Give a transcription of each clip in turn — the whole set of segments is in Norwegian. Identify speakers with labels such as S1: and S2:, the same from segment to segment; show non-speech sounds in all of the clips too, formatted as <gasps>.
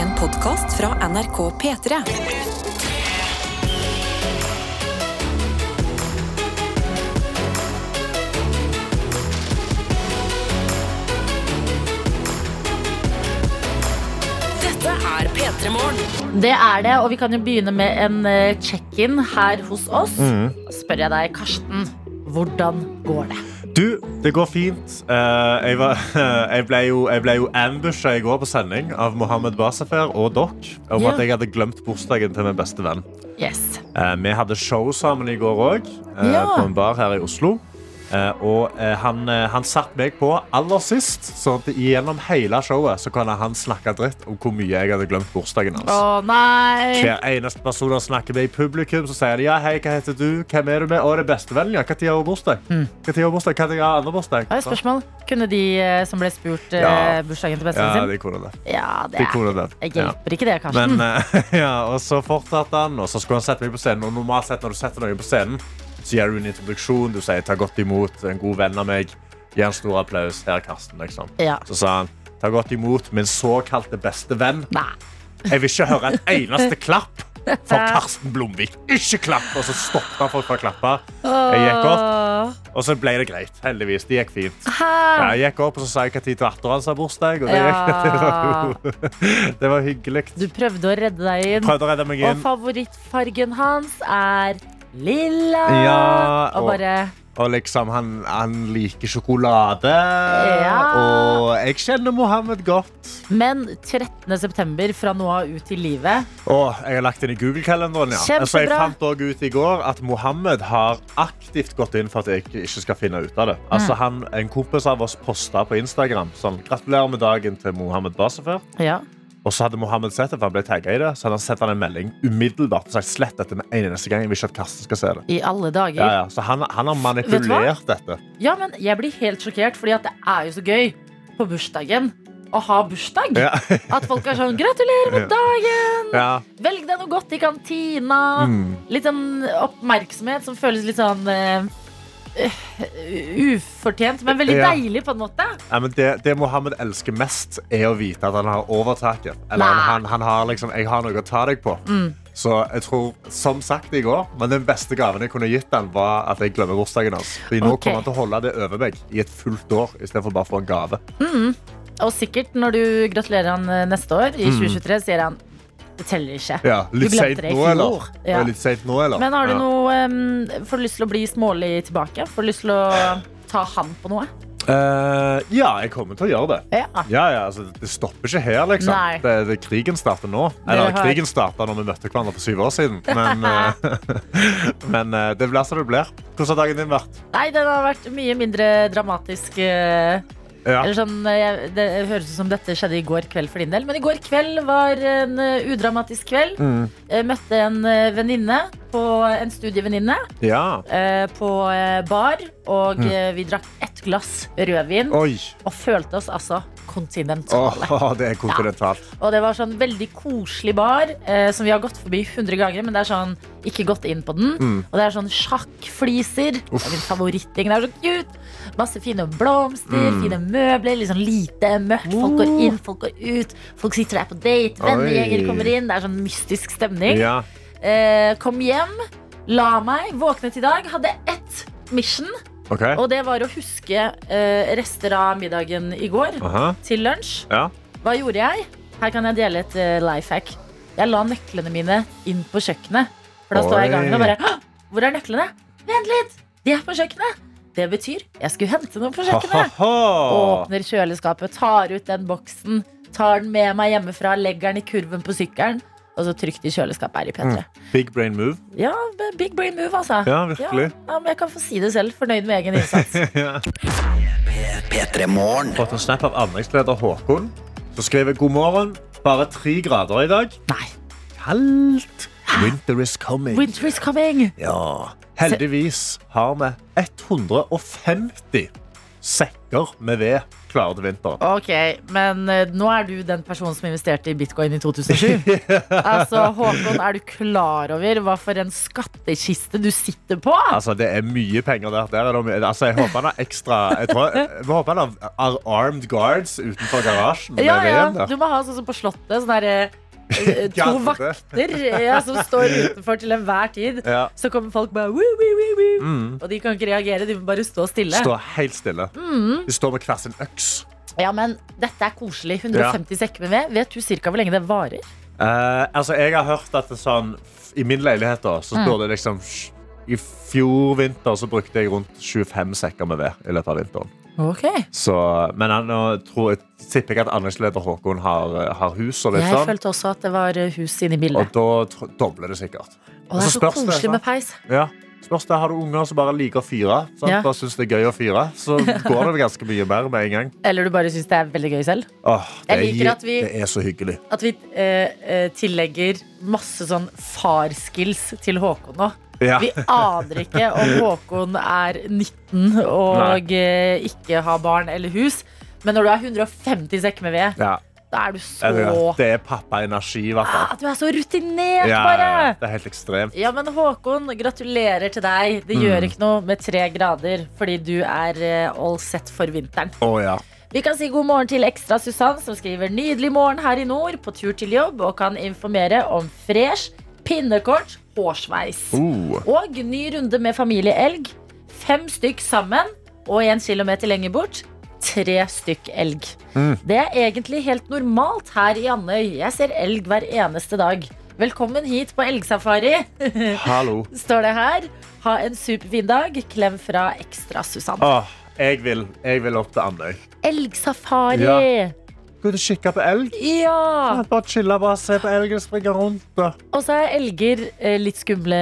S1: En podkast fra NRK P3. Dette er P3 Morgen.
S2: Det er det, og vi kan jo begynne med en eh, check-in her hos oss.
S3: Mm.
S2: Spør jeg deg, Karsten, hvordan går det?
S3: Du, det går fint. Eh, jeg, var, <laughs> jeg, ble jo, jeg ble jo ambusha i går på sending av Mohammed Basafer og Doc om
S2: Ja.
S3: at jeg hadde glemt bursdagen til min beste venn.
S2: Yes.
S3: Eh, vi hadde show sammen i går òg,
S2: Ja.
S3: på en bar her i Oslo. Eh, og eh, han, uh, han satte meg på aller sist, sånn at gjennom hele showet så kunne han snakke dritt om hvor mye jeg hadde glemt bursdagen hans.
S2: Å nei!
S3: Hver eneste person han snakker med i publikum, så sier de ja, hei, hva heter du, hvem er du med? Å, det er bestevennen, ja. Når har hun bursdag?
S2: Mm.
S3: Hva tid har hun bursdag? Hva tid har andre bursdag?
S2: Jeg har et spørsmål. Kunne de eh, som ble spurt eh,
S3: Ja.
S2: bursdagen til
S3: Ja,
S2: bestevennen sin?
S3: de kunne det.
S2: Ja, det
S3: De
S2: er
S3: kunne det.
S2: Jeg
S3: Ja.
S2: hjelper ikke det, Karsten. <laughs>
S3: Men, eh, <laughs> ja, og så fortsatte han, og så skulle han sette meg på scenen. Og normalt sett når du setter noen på scenen, så gjør du en introduksjon, du sier ta godt imot, en god venn av meg, gi en stor applaus, her er Karsten, liksom.
S2: Ja.
S3: Så sa han ta godt imot min såkalte beste venn.
S2: Nei.
S3: Jeg vil ikke høre et eneste klapp
S2: <laughs>
S3: for Karsten Blomvik. Ikke klapp! Og så stoppet han folk fra å klappe. Jeg gikk opp, og så ble det greit. Heldigvis. Det gikk fint. Ja,
S2: Hæ?
S3: Jeg gikk opp, og så sa jeg hva tid til Arthur hans har bursdag. Og <laughs> det,
S2: Ja.
S3: gikk- <laughs> det var hyggelig.
S2: Du prøvde å redde deg inn.
S3: Prøvde å redde meg
S2: Og
S3: inn.
S2: favorittfargen hans er lilla.
S3: Ja,
S2: og
S3: og-
S2: bare
S3: Og liksom, han, han liker sjokolade.
S2: Ja.
S3: Og jeg kjenner Mohammed godt.
S2: Men 13. september fra nå av ut i livet
S3: Åh, jeg har lagt inn i Google-kalenderen. Ja.
S2: Kjempebra.
S3: Så jeg fant også ut i går at Mohammed har aktivt gått inn for at jeg ikke- ikke skal finne ut
S2: Mm.
S3: av det. Altså, han, en kompis av oss posta på Instagram sånn, gratulerer med dagen til Mohammed Basafer.
S2: Ja.
S3: Og så hadde Mohammed sett det, for han ble tagget i det. Så hadde han sendt han en melding umiddelbart og sagt slett dette med en eneste gang. Jeg vil ikke at Karsten skal se det.
S2: I alle dager.
S3: Ja, ja. Så han, han har manipulert dette.
S2: Ja, men jeg blir helt sjokkert, fordi at det er jo så gøy på bursdagen å ha bursdag.
S3: Ja. <laughs>
S2: At folk er sånn 'gratulerer med
S3: Ja.
S2: dagen',
S3: Ja.
S2: 'velg deg noe godt i kantina'.
S3: Mm.
S2: Litt sånn oppmerksomhet som føles litt sånn eh, eh, ufortjent, men veldig
S3: Ja.
S2: deilig på en måte.
S3: Ja, men det, det Mohammed elsker mest, er å vite at han har overtaket. Eller han,
S2: Nei. Mm.
S3: han, han har liksom, jeg har noe å ta deg på. Så jeg tror, som sagt i går, men den beste gaven jeg kunne gitt han var at jeg glemmer bursdagen hans. Fordi nå
S2: Ok.
S3: kommer han til å holde det over meg i et fullt år, i stedet for bare for en gave.
S2: Og sikkert når du gratulerer han eh, neste år, i 2023, sier han 'det teller ikke'.
S3: Mm. Ja, litt
S2: Du glemte
S3: sent
S2: det i
S3: nå,
S2: fjor.
S3: eller?
S2: Ja.
S3: Ja, Litt sent nå, eller?
S2: Men har du
S3: Ja.
S2: noe eh, Får du lyst til å bli smålig tilbake? Får du lyst til å ta han på noe?
S3: Eh, ja, jeg kommer til å gjøre det.
S2: Ja.
S3: Ja, ja, altså, det stopper ikke her, liksom.
S2: Nei.
S3: Det, det, krigen starter nå.
S2: Dere
S3: Eller,
S2: har-
S3: krigen starta når vi møtte hverandre for syv år siden. Men, eh, <laughs> men eh, det blir som det blir. Hvordan har dagen din vært?
S2: Nei, den har vært mye mindre dramatisk. eh,
S3: Ja.
S2: Eller sånn, eh, jeg- det høres ut som dette skjedde i går kveld for din del. Men i går kveld var en eh, udramatisk kveld.
S3: Mm.
S2: Jeg møtte en eh, venninne, på- en studievenninne,
S3: ja.
S2: eh, på eh, bar. Og eh, vi drakk ett glass rødvin
S3: Oi.
S2: og følte oss altså kontinentale.
S3: Åh, <laughs> det er kontinentalt.
S2: Og det var sånn veldig koselig bar eh, som vi har gått forbi 100 ganger, men det er sånn ikke gått inn på den.
S3: Mm.
S2: Og det er sånn sjakkfliser. Det er min favoritting. Det er så cute. Masse fine blomster,
S3: Mm.
S2: fine møbler. Litt sånn lite mørkt. Folk går inn, folk går ut. Folk sitter der på date. Vennegjenger
S3: Uh. Oi.
S2: kommer inn. Det er sånn mystisk stemning.
S3: Ja.
S2: Eh, kom hjem, la meg, våknet i dag, hadde ett mission,
S3: OK.
S2: og det var å huske eh, rester av middagen i går
S3: Aha.
S2: til lunsj.
S3: Ja.
S2: Hva gjorde jeg? Her kan jeg dele et eh, life hack. Jeg la nøklene mine inn på kjøkkenet. For da står jeg i
S3: Oi.
S2: gangen og bare «Hå! Hvor er nøklene? Vent litt! De er på kjøkkenet! Det betyr jeg skulle hente noe på
S3: <laughs>
S2: kjøkkenet.
S3: Ha-ha-ha.
S2: Åpner kjøleskapet, tar ut den boksen, tar den med meg hjemmefra, legger den i kurven på sykkelen, og så trygt i kjøleskapet her i P3.
S3: Big brain move.
S2: Ja, big brain move, altså.
S3: Mm. Ja, virkelig.
S2: Ja, ja, men jeg kan få si det selv. Fornøyd med egen innsats.
S3: <laughs> Fått en snap av anleggsleder Håkon, som skriver god morgen. Bare tre grader i dag.
S2: Nei.
S3: Kaldt. Winter is coming.
S2: Winter is coming!
S3: Ja. Heldigvis har vi 150 sekk pakker med ved klare til vinteren.
S2: Ok, men eh, nå er du den personen som investerte i bitcoin i 2007.
S3: <laughs>
S2: altså, Håkon, er du klar over hva for en skattkiste du sitter på?
S3: Altså, det er mye penger der. der er det mye. Altså, jeg håper han har ekstra Jeg
S2: <laughs>
S3: tror, jeg håper han har ar- armed guards utenfor garasjen. Med
S2: Ja, ja,
S3: veden der.
S2: du må ha sånn som på Slottet. Sånn derre
S3: <laughs>
S2: To
S3: Gaddete.
S2: vakter ja, som står utenfor til enhver tid.
S3: Ja. Mm.
S2: Så kommer folk bare woo, woo, woo, woo. Og de kan ikke reagere, de må bare stå stille.
S3: Stå helt stille.
S2: Mm.
S3: De står med hver sin øks.
S2: Ja, men dette er koselig. 150 sekker med ved. Vet du cirka hvor lenge det varer?
S3: Eh, altså, jeg har hørt at det er sånn f- I min leilighet da, så
S2: Mm.
S3: står det liksom sj- I fjor vinter så brukte jeg rundt 25 sekker med ved i løpet av vinteren.
S2: Ok
S3: Så, men han- nå tror jeg, tipper jeg at anleggsleder Håkon har, eh, har hus og litt
S2: Jeg
S3: sånn.
S2: følte også at det var eh, hus inne i
S3: Og
S2: bildet.
S3: da tr- dobler det sikkert.
S2: Og det er så
S3: spørs det, altså.
S2: koselig med
S3: sant?
S2: peis.
S3: Ja. Spørs det, Har du unger som bare liker å fyre, sant?
S2: Ja.
S3: bare syns det er gøy å fyre,
S2: <laughs>
S3: så går det vel ganske mye mer med en gang.
S2: Eller du bare syns det er veldig gøy selv?
S3: Åh, det,
S2: Jeg liker
S3: er,
S2: at vi-
S3: det er så hyggelig.
S2: At vi eh, eh, tillegger masse sånn farskills til Håkon nå.
S3: Ja.
S2: Vi aner ikke om Håkon er 19 og eh, ikke har barn eller hus. Men når du har 150 sekker med ved,
S3: <laughs> Ja.
S2: da er du
S3: Jeg vet
S2: så
S3: ikke, Det er pappaenergi, i hvert fall.
S2: ah, Du er så rutinert,
S3: Ja,
S2: Ah, bare!
S3: ja, ja. det er helt ekstremt.
S2: Ja, men Håkon, gratulerer til deg.
S3: Mm.
S2: Det gjør ikke noe med tre grader, fordi du er eh, all set for vinteren.
S3: Å ja.
S2: Vi kan si god morgen til Ekstra Susann, som skriver nydelig morgen her i nord, på tur til jobb, og kan informere om fresh, pinnekort, hårsveis.
S3: Uh.
S2: Og ny runde med familieelg. Fem stykk sammen, og en kilometer lenger bort. Tre stykk elg. Det er egentlig helt normalt her i Andøy. Jeg ser elg hver eneste dag. Velkommen hit på elgsafari. <laughs>
S3: Hallo.
S2: står det her. Ha en superfin dag. Klem fra Ekstra Susann.
S3: Åh, jeg, vil, jeg vil opp til Andøy.
S2: Elgsafari! Ja.
S3: Ja. Gå ut og kikke på elg. Bare chille, bare se på elgen springe rundt. da.
S2: Og så er elger eh, litt skumle,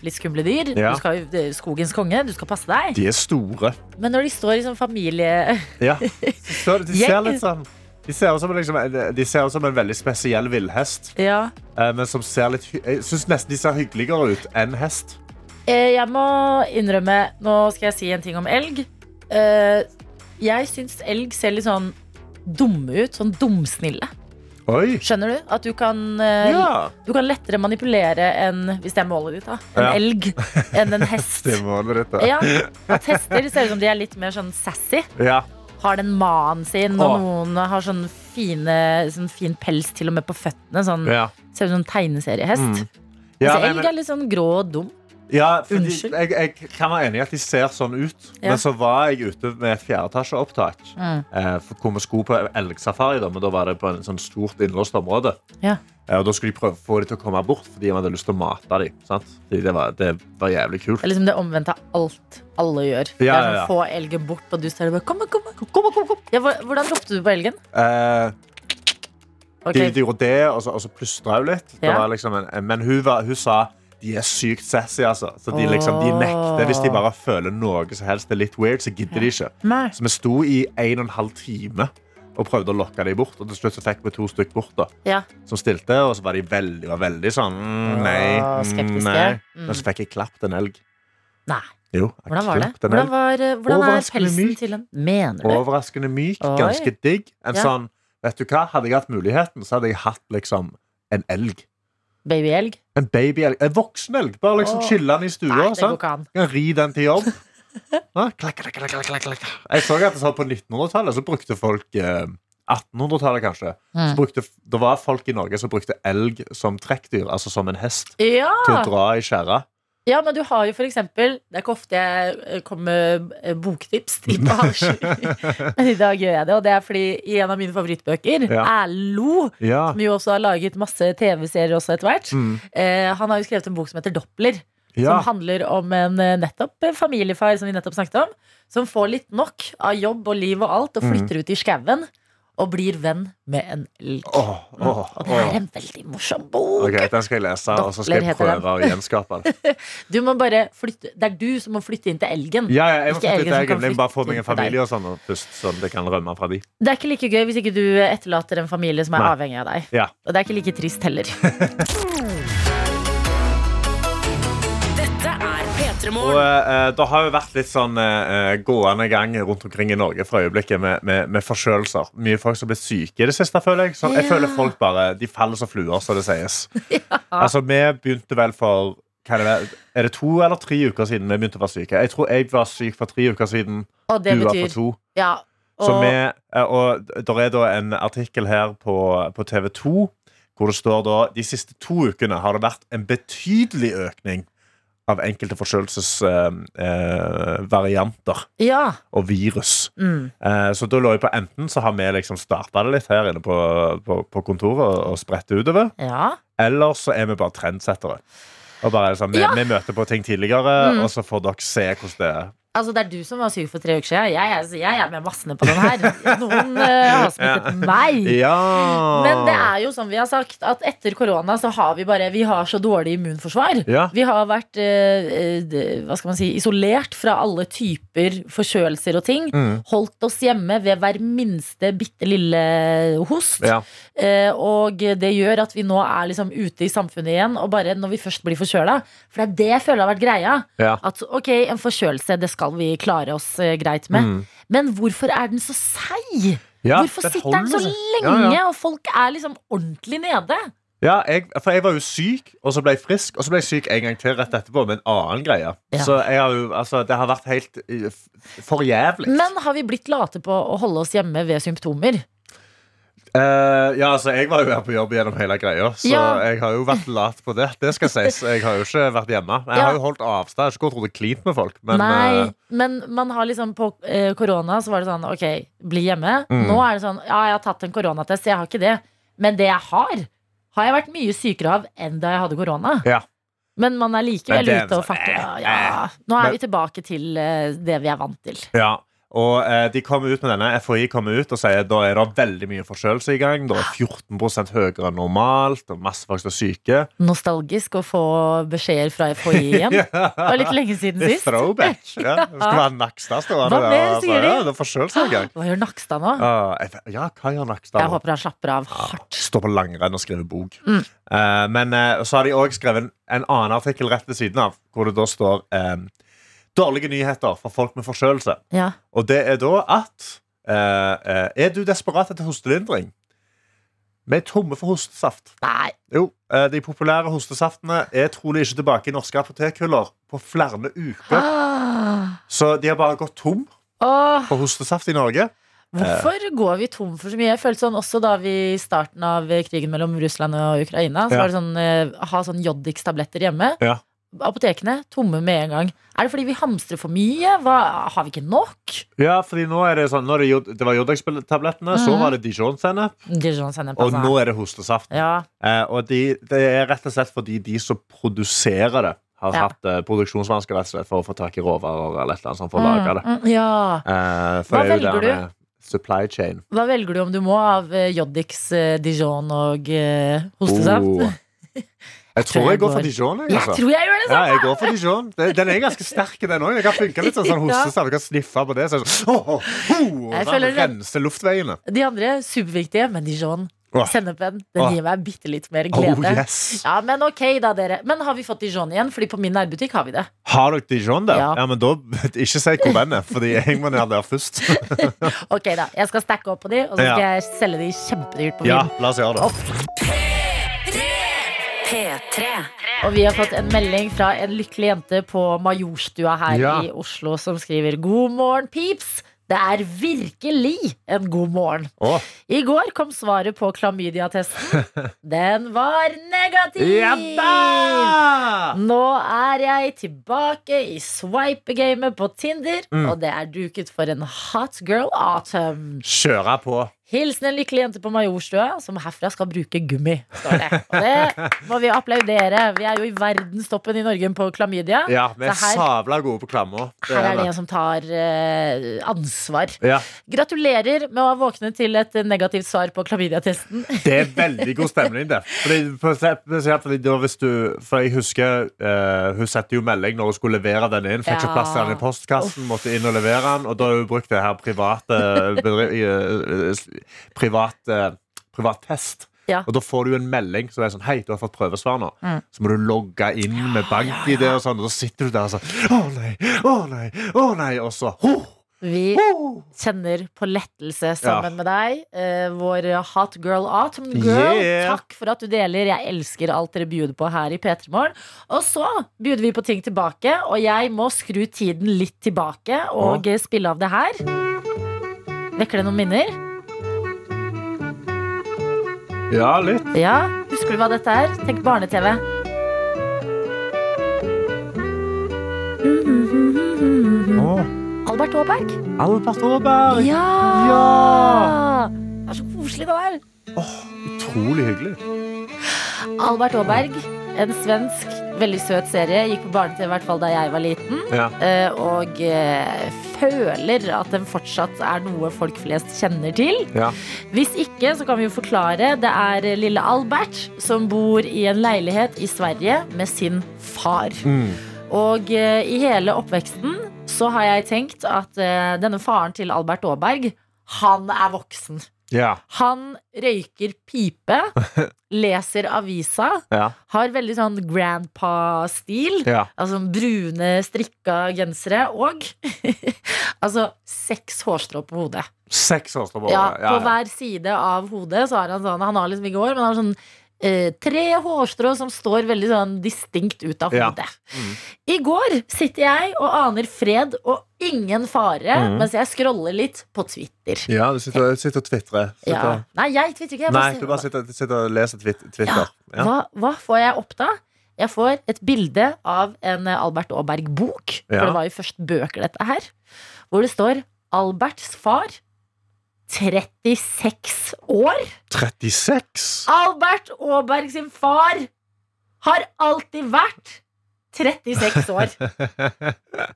S2: litt skumle dyr.
S3: Ja.
S2: Du skal jo det er skogens konge, du skal passe deg.
S3: De er store.
S2: Men når de står i sånn familie <laughs>
S3: Ja. Så, de ser
S2: Jeg-
S3: litt sånn de ser ut som, en liksom, en- de ser ut som en veldig spesiell villhest.
S2: Ja.
S3: eh, Men som ser litt hy- Jeg syns nesten de ser hyggeligere ut enn hest.
S2: Eh, jeg må innrømme Nå skal jeg si en ting om elg. Eh, jeg syns elg ser litt sånn dumme ut. Sånn dumsnille.
S3: Oi!
S2: Skjønner du? At du kan eh,
S3: Ja.
S2: Du kan lettere manipulere enn hvis det er målet ditt, da. En
S3: Ja.
S2: elg
S3: <laughs>
S2: enn en hest.
S3: Det er målet ditt, da.
S2: Ja, At hester ser ut som de er litt mer sånn sassy.
S3: Ja.
S2: Har den manen sin, og
S3: Åh.
S2: noen har sånn, fine, sånn fin pels til og med på føttene. Sånn,
S3: Ja. Mm.
S2: Ser ut som en tegneseriehest.
S3: Ja,
S2: Så
S3: nei,
S2: elg
S3: men-
S2: er litt sånn grå og dum.
S3: Ja, fordi
S2: Unnskyld.
S3: jeg, jeg kan være enig i at de ser sånn ut,
S2: Ja.
S3: men så var jeg ute med et fjerdeetasjeopptak.
S2: Mm.
S3: Eh, for- hvor vi skulle på elgsafari, da, men da var det på en sånn stort innlåst område.
S2: Ja.
S3: Eh, og da skulle de prøve å få dem til å komme bort, fordi de hadde lyst til å mate dem. Sant? Fordi det, var, det var jævlig kult.
S2: Det er liksom det omvendte av alt alle gjør. det
S3: Ja,
S2: er sånn
S3: ja, ja.
S2: Få elgen bort, og du står der bare kom, kom, kom, kom, kom, kom. Ja, hva- Hvordan ropte du på elgen?
S3: Eh,
S2: Ok.
S3: de, de gjorde det, og så, og så plystra hun litt. Det
S2: Ja.
S3: var liksom en, en, men hun, var, hun sa de er sykt sassy, altså. Så de, liksom, de
S2: Åh.
S3: nekter hvis de bare føler noe som helst er litt weird, så gidder de ikke.
S2: Nei.
S3: Så vi sto i en og en halv time og prøvde å lokke dem bort. Og til slutt så fikk vi to stykk bort da,
S2: Ja.
S3: som stilte, og så var de veldig, var veldig sånn mm, nei,
S2: Åh,
S3: mm,
S2: skeptiske.
S3: nei.
S2: Mm.
S3: Men så fikk jeg klappet en elg.
S2: Nei.
S3: Jo, jeg
S2: Hvordan var det?
S3: klappet en
S2: Hvordan,
S3: elg.
S2: var, eh, hvordan er
S3: Overraskende
S2: pelsen
S3: myk.
S2: til en Mener du?
S3: Overraskende myk,
S2: Oi.
S3: ganske digg. En
S2: Ja.
S3: sånn, vet du hva, hadde jeg hatt muligheten, så hadde jeg hatt liksom en elg.
S2: Babyelg?
S3: En babyelg. En voksen elg. Bare liksom
S2: Åh.
S3: chille den i stua.
S2: Nei, det går
S3: sant?
S2: ikke an.
S3: kan ri den til
S2: <laughs>
S3: jobb. Ja, klakk, klakk, klakk, klakk, klakk, klakk. Jeg så at det satt på 1900-tallet, så brukte folk eh, 1800-tallet, kanskje. Så
S2: Mm.
S3: brukte, det var folk i Norge som brukte elg som trekkdyr, altså som en hest,
S2: Ja!
S3: til å dra i skjæra.
S2: Ja, men du har jo for eksempel Det er ikke ofte jeg eh, kommer med eh, boktips
S3: <laughs>
S2: til på Halvsju. Men i dag gjør jeg det, og det er fordi i en av mine favorittbøker,
S3: Ja.
S2: Erlo,
S3: Ja.
S2: som jo også har laget masse TV-serier også etter hvert,
S3: Mm.
S2: eh, han har jo skrevet en bok som heter Doppler.
S3: ja.
S2: Som handler om en eh, nettopp eh, familiefar som vi nettopp snakket om, som får litt nok av jobb og liv og alt,
S3: Mm.
S2: og flytter ut i skauen og blir venn med en elg.
S3: Åh, åh,
S2: Og det
S3: åh.
S2: er en veldig morsom bok.
S3: Ok, Den skal jeg lese, og så skal
S2: Doppler
S3: jeg
S2: heter den.
S3: prøve å gjenskape den.
S2: Du må bare flytte Det er du som må flytte inn til elgen.
S3: Ja, ja, jeg må
S2: Ikke elgen som
S3: flytte ut elgen.
S2: kan
S3: Jeg må bare få
S2: flytte
S3: meg en
S2: til deg.
S3: familie og sånn og først, sånn at jeg kan rømme fra de.
S2: Det er ikke like gøy hvis ikke du etterlater en familie som er
S3: Nei.
S2: avhengig av deg.
S3: Ja.
S2: Og det er ikke like
S3: <laughs>
S2: trist heller.
S1: Dette er P3
S3: Og
S1: Petremorne.
S3: eh, Det har jo vært litt sånn eh, gående gang rundt omkring i Norge for øyeblikket med, med, med forkjølelser. Mye folk som blir syke i det siste, føler jeg. Så jeg
S2: Ja.
S3: føler folk bare De faller som fluer, som
S2: <laughs>
S3: det sies. Altså, vi begynte vel for hva er, det, er det to eller tre uker siden vi begynte å være syke? Jeg tror jeg var syk for tre uker siden.
S2: Og det
S3: du var for
S2: betyr
S3: to.
S2: ja,
S3: Så
S2: og,
S3: vi, eh, og der er da en artikkel her på, på TV 2 hvor det står da de siste to ukene har det vært en betydelig økning av enkelte forkjølelsesvarianter eh, varianter
S2: ja.
S3: og virus.
S2: Mm.
S3: Eh, så da lå jeg på enten så har vi liksom starta det litt her inne på, på, på kontoret og, og spredt det utover,
S2: ja.
S3: eller så er vi bare trendsettere. Og bare er det sånn, vi,
S2: Ja. Mm.
S3: vi møter på ting tidligere, og så får dere se hvordan det er.
S2: Altså, det er du som var syk for tre uker siden. Jeg, er- jeg er med massene på den her. Noen eh, har smittet meg.
S3: Ja!
S2: Men det
S3: Ah.
S2: er jo som vi har sagt, at etter korona så har vi bare Vi har så dårlig immunforsvar.
S3: Ja.
S2: Vi har vært eh, eh, d- hva skal man si, isolert fra alle typer forkjølelser og ting.
S3: Mm.
S2: Holdt oss hjemme ved hver minste bitte lille host.
S3: ja.
S2: Eh, og det gjør at vi nå er liksom ute i samfunnet igjen, og bare når vi først blir forkjøla. For det er det jeg føler har vært greia.
S3: Ja.
S2: At ok, en forkjølelse, det skal vi klare oss eh, greit med.
S3: Mm.
S2: Men hvorfor er den så seig?
S3: Ja,
S2: hvorfor
S3: den
S2: sitter den så
S3: holder seg.
S2: lenge,
S3: Ja, ja.
S2: og folk er liksom ordentlig nede?
S3: Ja, jeg, for jeg var jo syk, og så ble jeg frisk, og så ble jeg syk en gang til rett etterpå med en annen greie.
S2: Ja.
S3: Så jeg har jo, altså, det har vært helt eh, f- for jævlig.
S2: Men har vi blitt late på å holde oss hjemme ved symptomer?
S3: Eh, ja, altså, jeg var jo her på jobb gjennom hele greia, så
S2: Ja.
S3: jeg har jo vært lat på det. Det skal sies. Jeg har jo ikke vært hjemme. Jeg
S2: Ja.
S3: har jo holdt avstand. Jeg har ikke gått rundt og klint med folk. Men
S2: Nei,
S3: eh,
S2: men man har liksom på eh, korona så var det sånn, ok, bli hjemme.
S3: Mm.
S2: Nå er det sånn, ja, jeg har tatt en koronatest, jeg har ikke det. Men det jeg har, har jeg vært mye sykere av enn da jeg hadde korona.
S3: ja.
S2: Men man er
S3: Men
S2: likevel
S3: det er
S2: ute og
S3: sånn,
S2: fatter. Ja,
S3: eh,
S2: ja. Nå er
S3: Men-
S2: vi tilbake til eh, det vi er vant til.
S3: ja. Og eh, de kommer ut med denne, FHI kommer ut og sier da er det veldig mye forkjølelse i gang. Da er 14 høyere enn normalt, og masse folk som er syke.
S2: Nostalgisk å få beskjeder fra FHI
S3: <laughs>
S2: igjen. Det var litt lenge siden
S3: Det er
S2: sist. <laughs>
S3: throwback. Ja. Det skal være Nakstad stående
S2: Hva
S3: der,
S2: mer
S3: altså.
S2: sier de?
S3: Ja, det er forkjølelsesgang.
S2: Hva gjør Nakstad nå?
S3: Ah, jeg vet- Ja, hva gjør
S2: Jeg
S3: Nakstad? nå? Ah,
S2: håper han slapper av hardt. Mm.
S3: Står på langrenn og skriver bok. Eh, men eh, så har de òg skrevet en, en annen artikkel rett ved siden av, hvor det da står eh, Dårlige nyheter for folk med forkjølelse.
S2: Ja.
S3: Og det er da at eh, eh, Er du desperat etter hostelindring? Vi er tomme for hostesaft.
S2: Nei.
S3: Jo, eh, De populære hostesaftene er trolig ikke tilbake i norske apotekhyller på flere uker.
S2: Ah.
S3: Så de har bare gått tom
S2: Åh,
S3: for hostesaft i Norge.
S2: hvorfor går vi tom for så mye? Jeg følte sånn også da vi i starten av krigen mellom Russland og Ukraina, så
S3: Ja.
S2: var det sånn eh, ha sånn Jodix-tabletter hjemme.
S3: Ja.
S2: Apotekene tomme med en gang. Er det fordi vi hamstrer for mye? Hva, har vi ikke nok?
S3: Ja, fordi nå er det sånn nå er det, jod, det var Jodex-tablettene, så
S2: Mhm.
S3: var det Dijon-sennep,
S2: Dijon-sennep,
S3: og
S2: altså.
S3: nå er det hostesaft.
S2: Ja.
S3: Eh, og de, det er rett og slett fordi de som produserer det, har
S2: Ja.
S3: hatt eh, produksjonsvansker rett og slett for å få tak i råvarer eller et eller annet sånt for å lage det.
S2: Mm, mm, ja.
S3: Eh, for
S2: Hva
S3: det er jo
S2: velger
S3: det med Supply chain.
S2: Hva velger du om du må av eh, Joddix, eh, Dijon og eh, hostesaft?
S3: Oh. Jeg tror jeg går for
S2: går-
S3: Dijon. Jeg,
S2: <laughs> Jeg
S3: altså.
S2: tror jeg gjør det
S3: Ja,
S2: samme!
S3: jeg går for Dijon. Den den er ganske sterk, den òg. Jeg kan funke litt sånn, sånn
S2: <laughs> Ja.
S3: hostesaft. Jeg kan sniffe på det. Så er det sånn, <laughs> oh, oh, oh,
S2: Jeg
S3: sånn,
S2: føler den-
S3: rense luftveiene.
S2: De andre superviktige, men Dijon,
S3: Åh.
S2: sennepen, den
S3: Åh.
S2: gir meg bitte litt mer glede.
S3: Oh, yes.
S2: Ja, Men ok da, dere. Men har vi fått Dijon igjen? Fordi på min nærbutikk har vi det.
S3: Har dere Dijon der? Ja,
S2: Ja.
S3: men da <laughs> Ikke si hvor den er, Fordi jeg må ned der først.
S2: <laughs> Ok da, Jeg skal stacke opp på de, og så skal jeg selge de kjempedyrt på min.
S3: ja, la oss gjøre det.
S1: P3.
S2: Og vi har fått en melding fra en lykkelig jente på Majorstua her
S3: Ja.
S2: i Oslo som skriver God morgen, pips! Det er virkelig en god morgen.
S3: Å,
S2: I går kom svaret på
S3: <laughs>
S2: klamydia-testen. Den var negativ!
S3: Ja da!
S2: Nå er jeg tilbake i swipe-gamet på Tinder,
S3: Mm.
S2: og det er duket for en hot girl autumn.
S3: Kjøre på.
S2: Hilsen en lykkelig jente på Majorstua, som herfra skal bruke gummi. Står det. Og det må vi applaudere. Vi er jo i verdenstoppen i Norge på klamydia.
S3: Ja, vi er
S2: Så her-
S3: sabla gode på klammer. Det
S2: Her er det
S3: det.
S2: en som tar eh, ansvar.
S3: Ja,
S2: Gratulerer med å ha våknet til et negativt svar på klamydia-testen.
S3: det er veldig god stemning, det. Fordi, for, spesielt fordi da hvis du, for jeg husker eh, Hun sendte jo melding når hun skulle levere den inn. Fikk ikke
S2: Ja.
S3: plass til den i postkassen, måtte inn og levere den. Og da har hun
S2: <laughs>
S3: brukt det her private bedri, eh, eh, privat, eh, privat test
S2: Ja.
S3: Og da får du en melding som er sånn Hei, du har fått prøvesvar nå.
S2: Mm.
S3: Så må du logge inn med bank-ID og sånn, og da sitter du der og sånn Å nei, å nei, å nei. Og så ho,
S2: Vi
S3: ho.
S2: kjenner på lettelse sammen med deg. Eh, vår hot girl autumn girl.
S3: Yeah.
S2: Takk for at du deler. Jeg elsker alt dere bjuder på her i P3 Morgen. Og så bjuder vi på ting tilbake, og jeg må skru tiden litt tilbake og eh, spille av det her. Vekker det noen minner?
S3: Ja, litt.
S2: Ja. Husker du hva dette er? Tenk barne-TV.
S3: Å,
S2: Albert Aaberg.
S3: Albert Aaberg.
S2: Ja!
S3: Ja!
S2: Det er så koselig, det der.
S3: Utrolig hyggelig.
S2: Albert Aaberg, en svensk, veldig søt serie. Gikk på barne-TV i hvert fall da jeg var liten.
S3: Ja.
S2: eh, Og eh, føler at den fortsatt er noe folk flest kjenner til.
S3: Ja.
S2: Hvis ikke, så kan vi jo forklare. Det er eh, lille Albert som bor i en leilighet i Sverige med sin far.
S3: Mm.
S2: Og eh, i hele oppveksten så har jeg tenkt at eh, denne faren til Albert Aaberg, han er voksen.
S3: Ja.
S2: Han røyker pipe, leser avisa,
S3: Ja.
S2: har veldig sånn grandpa-stil.
S3: Ja.
S2: Altså brune, strikka gensere og <laughs> altså seks hårstrå på hodet.
S3: Seks år står på.
S2: Ja,
S3: året.
S2: på hver side av hodet så har han sånn Han har liksom ikke hår, men han har sånn eh, tre hårstrå som står veldig sånn distinkt ut av
S3: Ja.
S2: hodet.
S3: Mm.
S2: I går sitter jeg og aner fred og ingen fare
S3: Mhm.
S2: mens jeg scroller litt på Twitter.
S3: ja, du sitter sitter og tvitrer.
S2: Ja. Nei, jeg twitrer ikke. Jeg
S3: Nei,
S2: ser-
S3: du bare sitter, sitter og leser twit- Twitter. Ja.
S2: Hva, hva får jeg opp da? Jeg får et bilde av en eh, Albert Aaberg-bok.
S3: Ja.
S2: For det var jo først bøker, dette her. Hvor det står 'Alberts far'. 36 år.
S3: 36?
S2: Albert Aaberg sin far har alltid vært 36
S3: <laughs>
S2: år.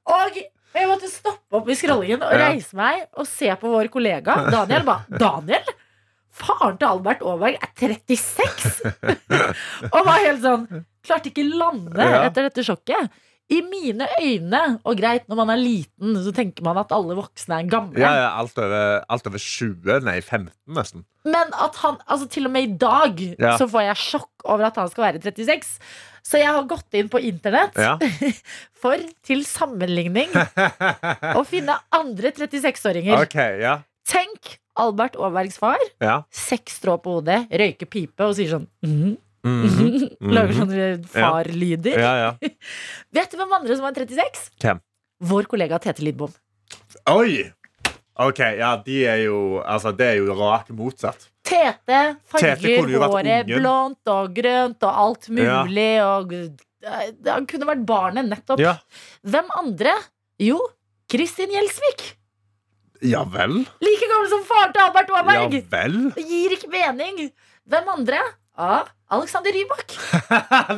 S2: Og jeg måtte stoppe opp i scrollingen og
S3: Ja.
S2: reise meg og se på vår kollega Daniel. Ba, Daniel? Faren til Albert Aaberg er 36! <laughs> og var helt sånn Klarte ikke lande
S3: Ja.
S2: etter dette sjokket. I mine øyne, og greit, når man er liten, så tenker man at alle voksne er gamle.
S3: Ja, ja, alt over, alt over 20, nei 15 nesten.
S2: Men at han, altså til og med i dag
S3: Ja.
S2: Så får jeg sjokk over at han skal være 36 Så jeg har gått inn på internett
S3: Ja.
S2: <laughs> For til
S3: <laughs>
S2: sammenligning Å finne andre 36-åringer
S3: OK, ja.
S2: Tenk Albert Aabergs far
S3: ja.
S2: Seks strå på hodet, røyker pipe Og sier sånn mhm,
S3: Mhm. mhm.
S2: <laughs> Lager sånn sånne farlyder
S3: Ja, ja.
S2: Vet du hvem andre som er 36?
S3: Hvem?
S2: Vår kollega Tete Lidbom
S3: Oi! OK, ja, de er jo Altså, det er jo rak motsatt.
S2: Tete
S3: Tete
S2: farger
S3: kunne jo vært
S2: håret
S3: ungen.
S2: blondt og grønt og alt
S3: Ja.
S2: mulig. Og, eh, han kunne vært barnet, nettopp.
S3: Ja,
S2: Hvem andre? Jo, Kristin Gjelsvik.
S3: ja vel?
S2: Like gammel som faren til Albert
S3: Ja
S2: Aaberg.
S3: vel? <laughs>
S2: Det gir ikke mening. Hvem andre? A. Alexander Rybak.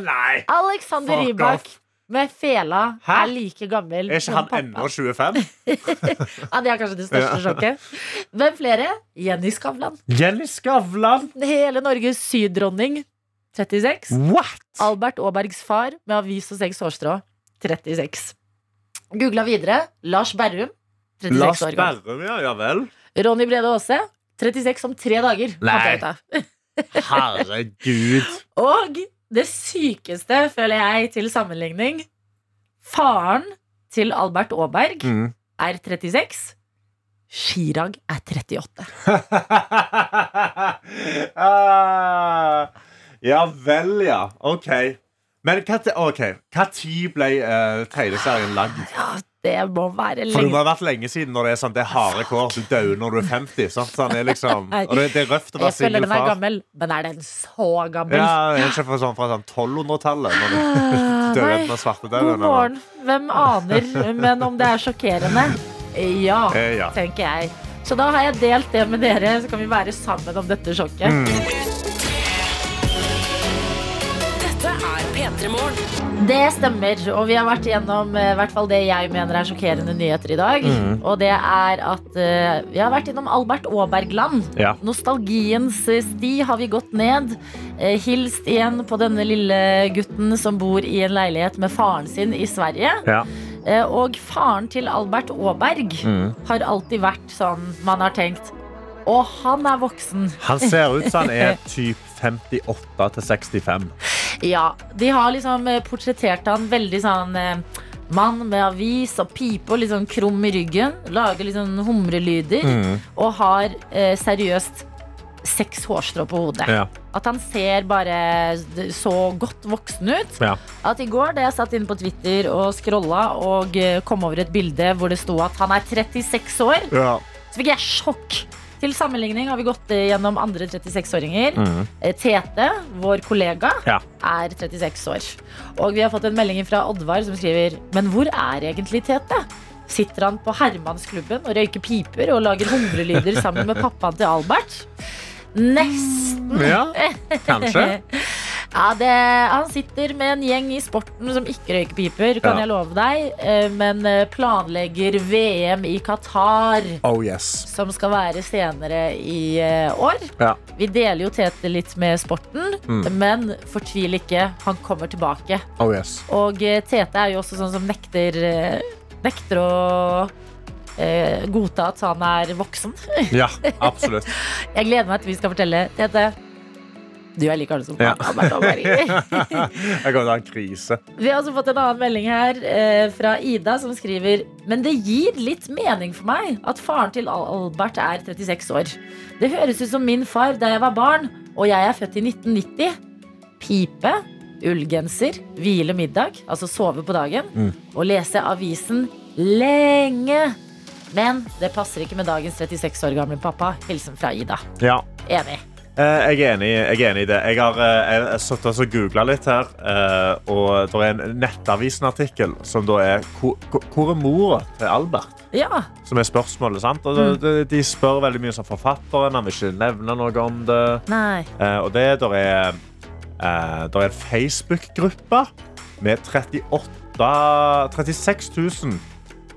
S3: Nei!
S2: Alexander
S3: Fuck
S2: Rybak
S3: off.
S2: med fela
S3: Hæ?
S2: er like gammel
S3: Er ikke
S2: som
S3: han
S2: pappa. <laughs>
S3: ennå 25?
S2: Ja, det er kanskje det største
S3: Ja.
S2: sjokket. Hvem flere? Jenny Skavlan.
S3: <laughs> Jenny Skavlan!
S2: Hele Norges syddronning. 36.
S3: What?!
S2: Albert Aabergs far med avis og seks hårstrå. 36. Googla videre. Lars Berrum. 36
S3: Lars
S2: år gammel.
S3: Berrum, ja. Ja vel?
S2: Ronny Brede Aase. 36 om tre dager. fant
S3: Nei.
S2: jeg ut av.
S3: Herregud.
S2: Og det sykeste, føler jeg, til sammenligning Faren til Albert Aaberg
S3: Mm.
S2: er 36. Chirag er 38.
S3: ah, ja vel, ja. OK. Men hva, ti- ok, hva tid ble eh, tegneserien lagd?
S2: Ja, det må være
S3: For det må
S2: lenge.
S3: ha vært lenge siden når det er sånn, det er harde kår. Du dør når du er 50. Sant? Sånn, det er liksom, og det, det er røft å
S2: Jeg
S3: være
S2: føler
S3: singel
S2: den er
S3: far.
S2: gammel, men er den så gammel?
S3: Ja, det er ikke fra sånn, fra sånn 1200-tallet. Når du
S2: Ah,
S3: <laughs> dør
S2: nei.
S3: enten av svartedauden
S2: God
S3: eller
S2: morgen. Hvem aner? Men om det er sjokkerende? Ja,
S3: Eh, ja.
S2: tenker jeg. Så da har jeg delt det med dere, så kan vi være sammen om dette sjokket.
S3: Mm.
S1: Dette er P3 Morgen.
S2: Det stemmer, og vi har vært gjennom eh, hvert fall det jeg mener er sjokkerende nyheter i dag.
S3: Mm.
S2: Og det er at eh, vi har vært innom Albert Aaberg-land.
S3: Ja.
S2: Nostalgiens eh, sti har vi gått ned. Eh, hilst igjen på denne lille gutten som bor i en leilighet med faren sin i Sverige.
S3: Ja.
S2: Eh, og faren til Albert Aaberg
S3: Mm.
S2: har alltid vært sånn man har tenkt. Å, Og han er voksen.
S3: Han ser ut som han er typ 58 til 65.
S2: Ja, De har liksom eh, portrettert han veldig sånn eh, Mann med avis og pipe og litt sånn krum i ryggen. Lager litt sånn humrelyder.
S3: Mm.
S2: Og har eh, seriøst seks hårstrå på hodet.
S3: Ja.
S2: At han ser bare så godt voksen ut.
S3: Ja.
S2: At i går da jeg satt inne på Twitter og scrolla og eh, kom over et bilde hvor det sto at han er 36 år,
S3: Ja.
S2: så fikk jeg sjokk. Til sammenligning har vi gått eh, gjennom andre 36-åringer. Eh, Tete, vår kollega,
S3: Mm. Ja.
S2: er 36 år. Og vi har fått en melding fra Oddvar som skriver Men hvor er egentlig Tete? Sitter han på Hermansklubben og røyker piper og lager humrelyder sammen med pappaen til Albert? Nesten.
S3: Kanskje.
S2: Ja, det, han sitter med en gjeng i sporten som ikke røyker piper, kan
S3: Ja.
S2: jeg love deg. eh, Men eh, planlegger VM i Qatar,
S3: Oh yes.
S2: som skal være senere i eh, år.
S3: Ja.
S2: Vi deler jo Tete litt med sporten, men fortvil ikke, han kommer tilbake.
S3: Oh yes.
S2: Og eh, Tete er jo også sånn som nekter, eh, nekter å eh, godta at han er voksen.
S3: <laughs>
S2: <laughs>
S3: Ja, absolutt.
S2: Jeg gleder meg til vi skal fortelle Tete. Du er like gammel som
S3: Ja.
S2: han. Albert Aaberg.
S3: <laughs> Jeg kommer til å ha en krise.
S2: Vi har også fått en annen melding her eh, fra Ida som skriver Men det gir litt mening for meg at faren til Al- Albert er 36 år. Det høres ut som min far da jeg var barn, og jeg er født i 1990. Pipe, ullgenser, hvile middag, altså sove på dagen, og lese avisen lenge. Men det passer ikke med dagens 36 år gamle pappa. Hilsen fra Ida.
S3: Ja.
S2: Enig.
S3: Eh, Jeg er, enig, jeg er enig i det. Jeg har eh, jeg har satt og googla litt her. eh, Og det er en Nettavisen-artikkel som da er Hvor hvor er mora til Albert?
S2: Ja.
S3: Som er spørsmålet. sant? Og det- det- de spør veldig mye om forfatteren. Han vil ikke nevne noe om det.
S2: Nei.
S3: Eh, Og det der er, eh, der er en Facebook-gruppe med 38 36 000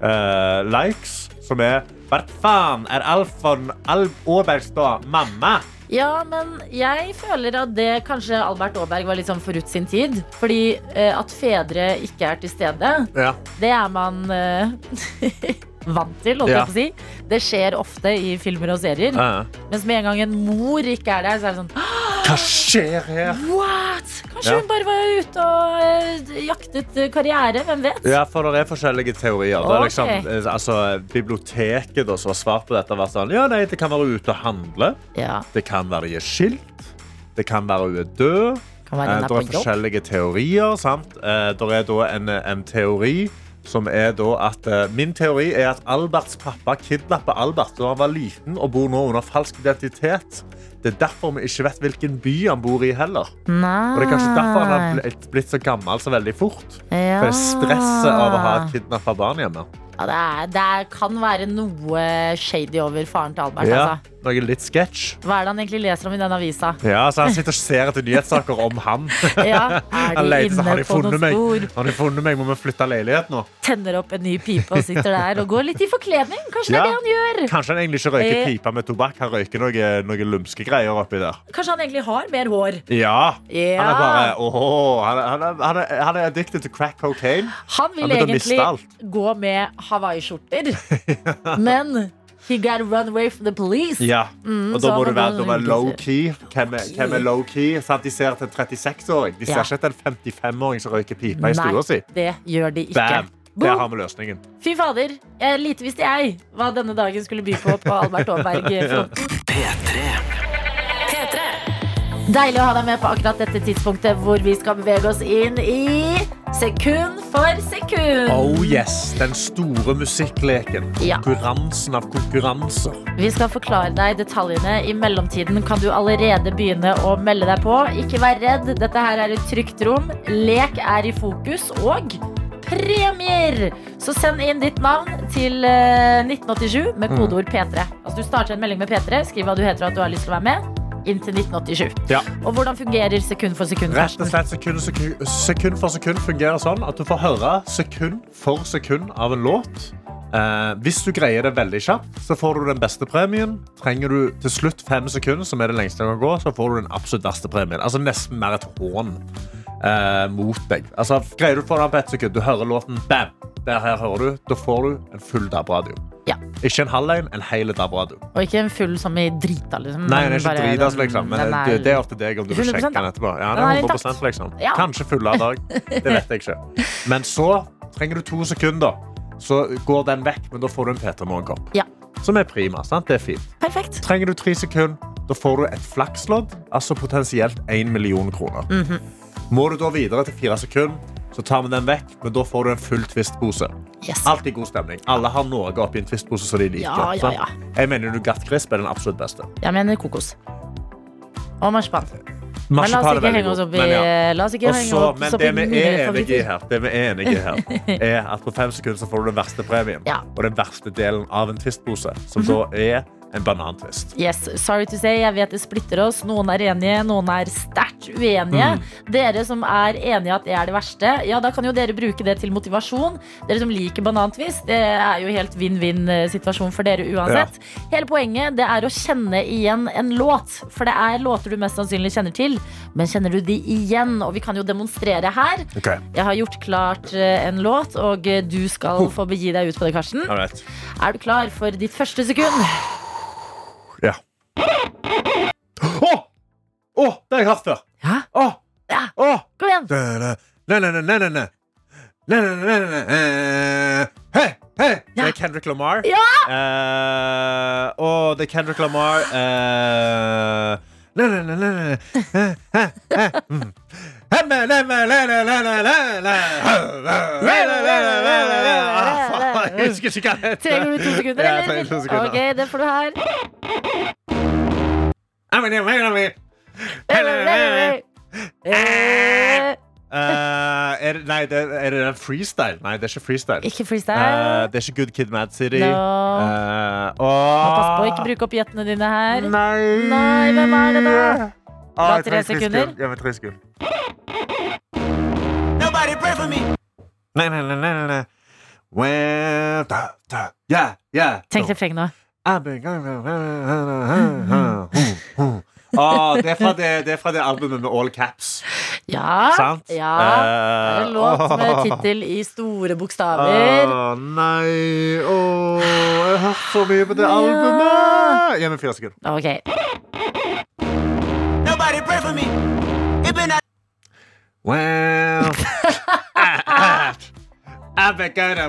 S3: eh, likes, som er Hva faen er Alfon Alv Aabergstad mamma?
S2: Ja, men jeg føler at det kanskje Albert Aaberg var litt sånn forut sin tid. Fordi eh, at fedre ikke er til stede,
S3: Ja.
S2: det er man eh, <laughs> vant til, holdt
S3: Ja.
S2: jeg på å si. Det skjer ofte i filmer og serier.
S3: Eh.
S2: Mens med en gang en mor ikke er der, så er det sånn «Hå,
S3: Hva skjer her?
S2: What? Kanskje
S3: Ja.
S2: hun bare var ute og eh, jaktet eh, karriere? Hvem vet?
S3: Ja, for det er forskjellige teorier. Det er
S2: Ok.
S3: liksom, eh, altså, biblioteket da, som har svart på dette, har vært sånn Ja, nei, det kan være ute og handle.
S2: Ja,
S3: Det kan være de er skilt. Det kan være hun er død.
S2: kan
S3: Eh,
S2: være
S3: Det
S2: hun
S3: er
S2: er på jobb.
S3: forskjellige teorier. sant? Eh, Det er da en, en teori som er da at eh, Min teori er at Alberts pappa kidnappa Albert da han var liten og bor nå under falsk identitet. Det er derfor vi ikke vet hvilken by han bor i heller. Og det er kanskje derfor han har blitt, blitt så gammel så veldig fort. For det er stresset av å ha et kidnappa barn hjemme.
S2: Ja, det, er, det er, kan være noe shady over faren til Albert.
S3: Ja,
S2: Altså.
S3: noe litt sketsj.
S2: Hva er det han egentlig leser om i den avisa?
S3: Ja, så han sitter og ser etter nyhetssaker om han. <laughs>
S2: <laughs> Ja, er
S3: Han
S2: de
S3: leter, så
S2: inne
S3: har de
S2: på noen
S3: funnet meg.
S2: spor?
S3: Har de funnet meg? Må vi flytte leilighet
S2: <laughs>
S3: nå?
S2: Tenner opp en ny pipe og sitter der og går litt i forkledning. Kanskje det
S3: Ja.
S2: er det han gjør?
S3: Kanskje han egentlig ikke røyker
S2: Eh.
S3: pipa med tobakk. Han røyker noe, noe lumske greier oppi der.
S2: Kanskje han egentlig har mer hår?
S3: Ja!
S2: Ja.
S3: Han er bare åhå, han, er- han, er- han, er- han er addicted to crack cocaine.
S2: Han
S3: Han
S2: vil
S3: begynte å miste alt.
S2: egentlig gå med hawaiiskjorter, men he got run away from the police.
S3: Ja. og da
S2: Mm, så
S3: må
S2: han
S3: du
S2: er
S3: være
S2: bare
S3: da må du være
S2: low-key.
S3: low-key. Hvem, er- hvem er low-key? Sant, De ser etter en 36-åring. De ser
S2: Ja.
S3: ikke etter en 55-åring som røyker pipa
S2: Nei,
S3: i stua si.
S2: det gjør de ikke.
S3: Bam! Der har
S2: Boom.
S3: vi løsningen.
S2: Fy fader, jeg lite visste jeg hva denne dagen skulle by på på Albert eh, Aaberg-fronten.
S1: P3.
S2: Deilig å ha deg med på akkurat dette tidspunktet hvor vi skal bevege oss inn i sekund for sekund.
S3: Oh yes, Den store musikkleken.
S2: Ja.
S3: Konkurransen av konkurranser.
S2: Vi skal forklare deg detaljene. I mellomtiden kan du allerede begynne å melde deg på. Ikke vær redd, dette her er et trygt rom. Lek er i fokus, og premier! Så send inn ditt navn til eh, 1987
S3: Mm.
S2: med kodeord P3. Altså Du starter en melding med P3, skriv hva du heter og at du har lyst til å være med. Inn til 1987.
S3: Ja.
S2: Og hvordan fungerer sekund for sekund?
S3: Rett og
S2: Karsten?
S3: slett sekund, sekund, sekund for sekund fungerer sånn at du får høre sekund for sekund av en låt. Eh, hvis du greier det veldig kjapt, så får du den beste premien. Trenger du til slutt fem sekunder, som er det lengste det kan gå, så får du den absolutt verste premien. Altså nesten mer et hån eh, mot deg. Altså, greier du å få den på ett sekund, du hører låten, bam! Der her hører du, da får du en full DAB-radio.
S2: Ja.
S3: Ikke en halv en, en hel dabrado.
S2: Og ikke en full som i drita, liksom.
S3: Nei,
S2: men
S3: den er ikke
S2: bare
S3: dritas,
S2: den-
S3: liksom. Men
S2: den
S3: det- det er opp til deg om du vil
S2: 100%
S3: sjekke den
S2: da.
S3: etterpå. Ja,
S2: Den er
S3: den er
S2: intakt.
S3: 100 liksom.
S2: Ja.
S3: Kanskje full av dag. Det vet jeg
S2: <laughs>
S3: ikke. Men så trenger du to sekunder. Så går den vekk, men da får du en Peter Morgenkopp.
S2: Ja.
S3: Som er prima. sant? Det er fint.
S2: Perfekt.
S3: Trenger du tre sekunder, da får du et flakslodd, altså potensielt 1 million kroner.
S2: Mhm.
S3: Må du da videre til fire sekunder, så tar vi den vekk, men da får du en full twist-pose.
S2: Yes.
S3: Alltid god stemning. Alle har noe oppi en twist-pose som de liker.
S2: Ja, ja,
S3: sant?
S2: ja.
S3: Jeg mener Nougat Crisp er den absolutt beste.
S2: Jeg mener kokos. Og marsipan. Men la
S3: Marsipan
S2: oss
S3: er
S2: ikke
S3: veldig
S2: henge
S3: god,
S2: oss opp i eh,
S3: men ja.
S2: La oss ikke
S3: Og
S2: henge
S3: så,
S2: oss
S3: men
S2: opp i
S3: det vi er
S2: mine
S3: enige i
S2: favoritter.
S3: her, det vi er enige i
S2: <laughs>
S3: her, er at på fem sekunder så får du den verste premien.
S2: Ja. Mhm.
S3: Og den verste delen av en twistpose, som da er en banantvist.
S2: Yes, sorry to say, jeg vet det splitter oss. Noen er enige, noen er sterkt uenige.
S3: Mm.
S2: Dere som er enige at det er det verste, ja, da kan jo dere bruke det til motivasjon. Dere som liker banantvist, det er jo helt vinn-vinn-situasjon for dere uansett. Hele poenget det er å kjenne igjen en låt, for det er låter du mest sannsynlig kjenner til. Men kjenner du de igjen? Og vi kan jo demonstrere her.
S3: Okay.
S2: Jeg har gjort klart eh, en låt, og eh, du
S3: Oh.
S2: skal få begi deg ut på det, Karsten.
S3: Jeg vet.
S2: Er du klar for ditt første sekund?
S3: Ja. Å! Å, det har jeg hørt før!
S2: Ja,
S3: Å!
S2: Ja.
S3: Å!
S2: kom igjen!
S3: Na-na-na-na-na-na. Na-na-na-na-na-na. Hei, hei! Det
S2: Ja.
S3: er Kendrick Lamar.
S2: Ja!
S3: Eh, og det er Kendrick Lamar eh, na-na-na-na-na. Eh, eh, eh, mm. Ah, faen, Jeg husker ikke hva det heter.
S2: Trenger du to sekunder,
S3: Ja, jeg
S2: eller?
S3: trenger to sekunder.
S2: Ok, det får du
S3: <laughs>
S2: her. Eh,
S3: Eh, er, det- nei, det, er det en freestyle? Nei, det er ikke freestyle.
S2: Ikke
S3: Eh,
S2: freestyle.
S3: det er ikke Good Kid Mad City.
S2: No.
S3: Eh, og-
S2: Pass på å ikke bruke opp gjettene dine her.
S3: Nei.
S2: Nei, hvem er det da?
S3: Ah, jeg
S2: Det var tre
S3: trenger
S2: sekunder.
S3: sekunder. Jeg vil tre sekunder. Nei, nei, nei, nei, nei, nei. Well, da, da. Yeah, yeah.
S2: Tenk refrenget nå.
S3: I've been going- Ah, det, er fra det, det er fra det albumet med all caps.
S2: Ja.
S3: Sant?
S2: ja. Det
S3: Eh,
S2: er en låt med
S3: <laughs> åh.
S2: tittel i store bokstaver.
S3: Åh, nei, åh, jeg har hørt så mye på det
S2: Ja.
S3: albumet. Gi meg fire sekunder.
S2: Ok.
S3: Well <laughs> Kom
S2: Kom igjen,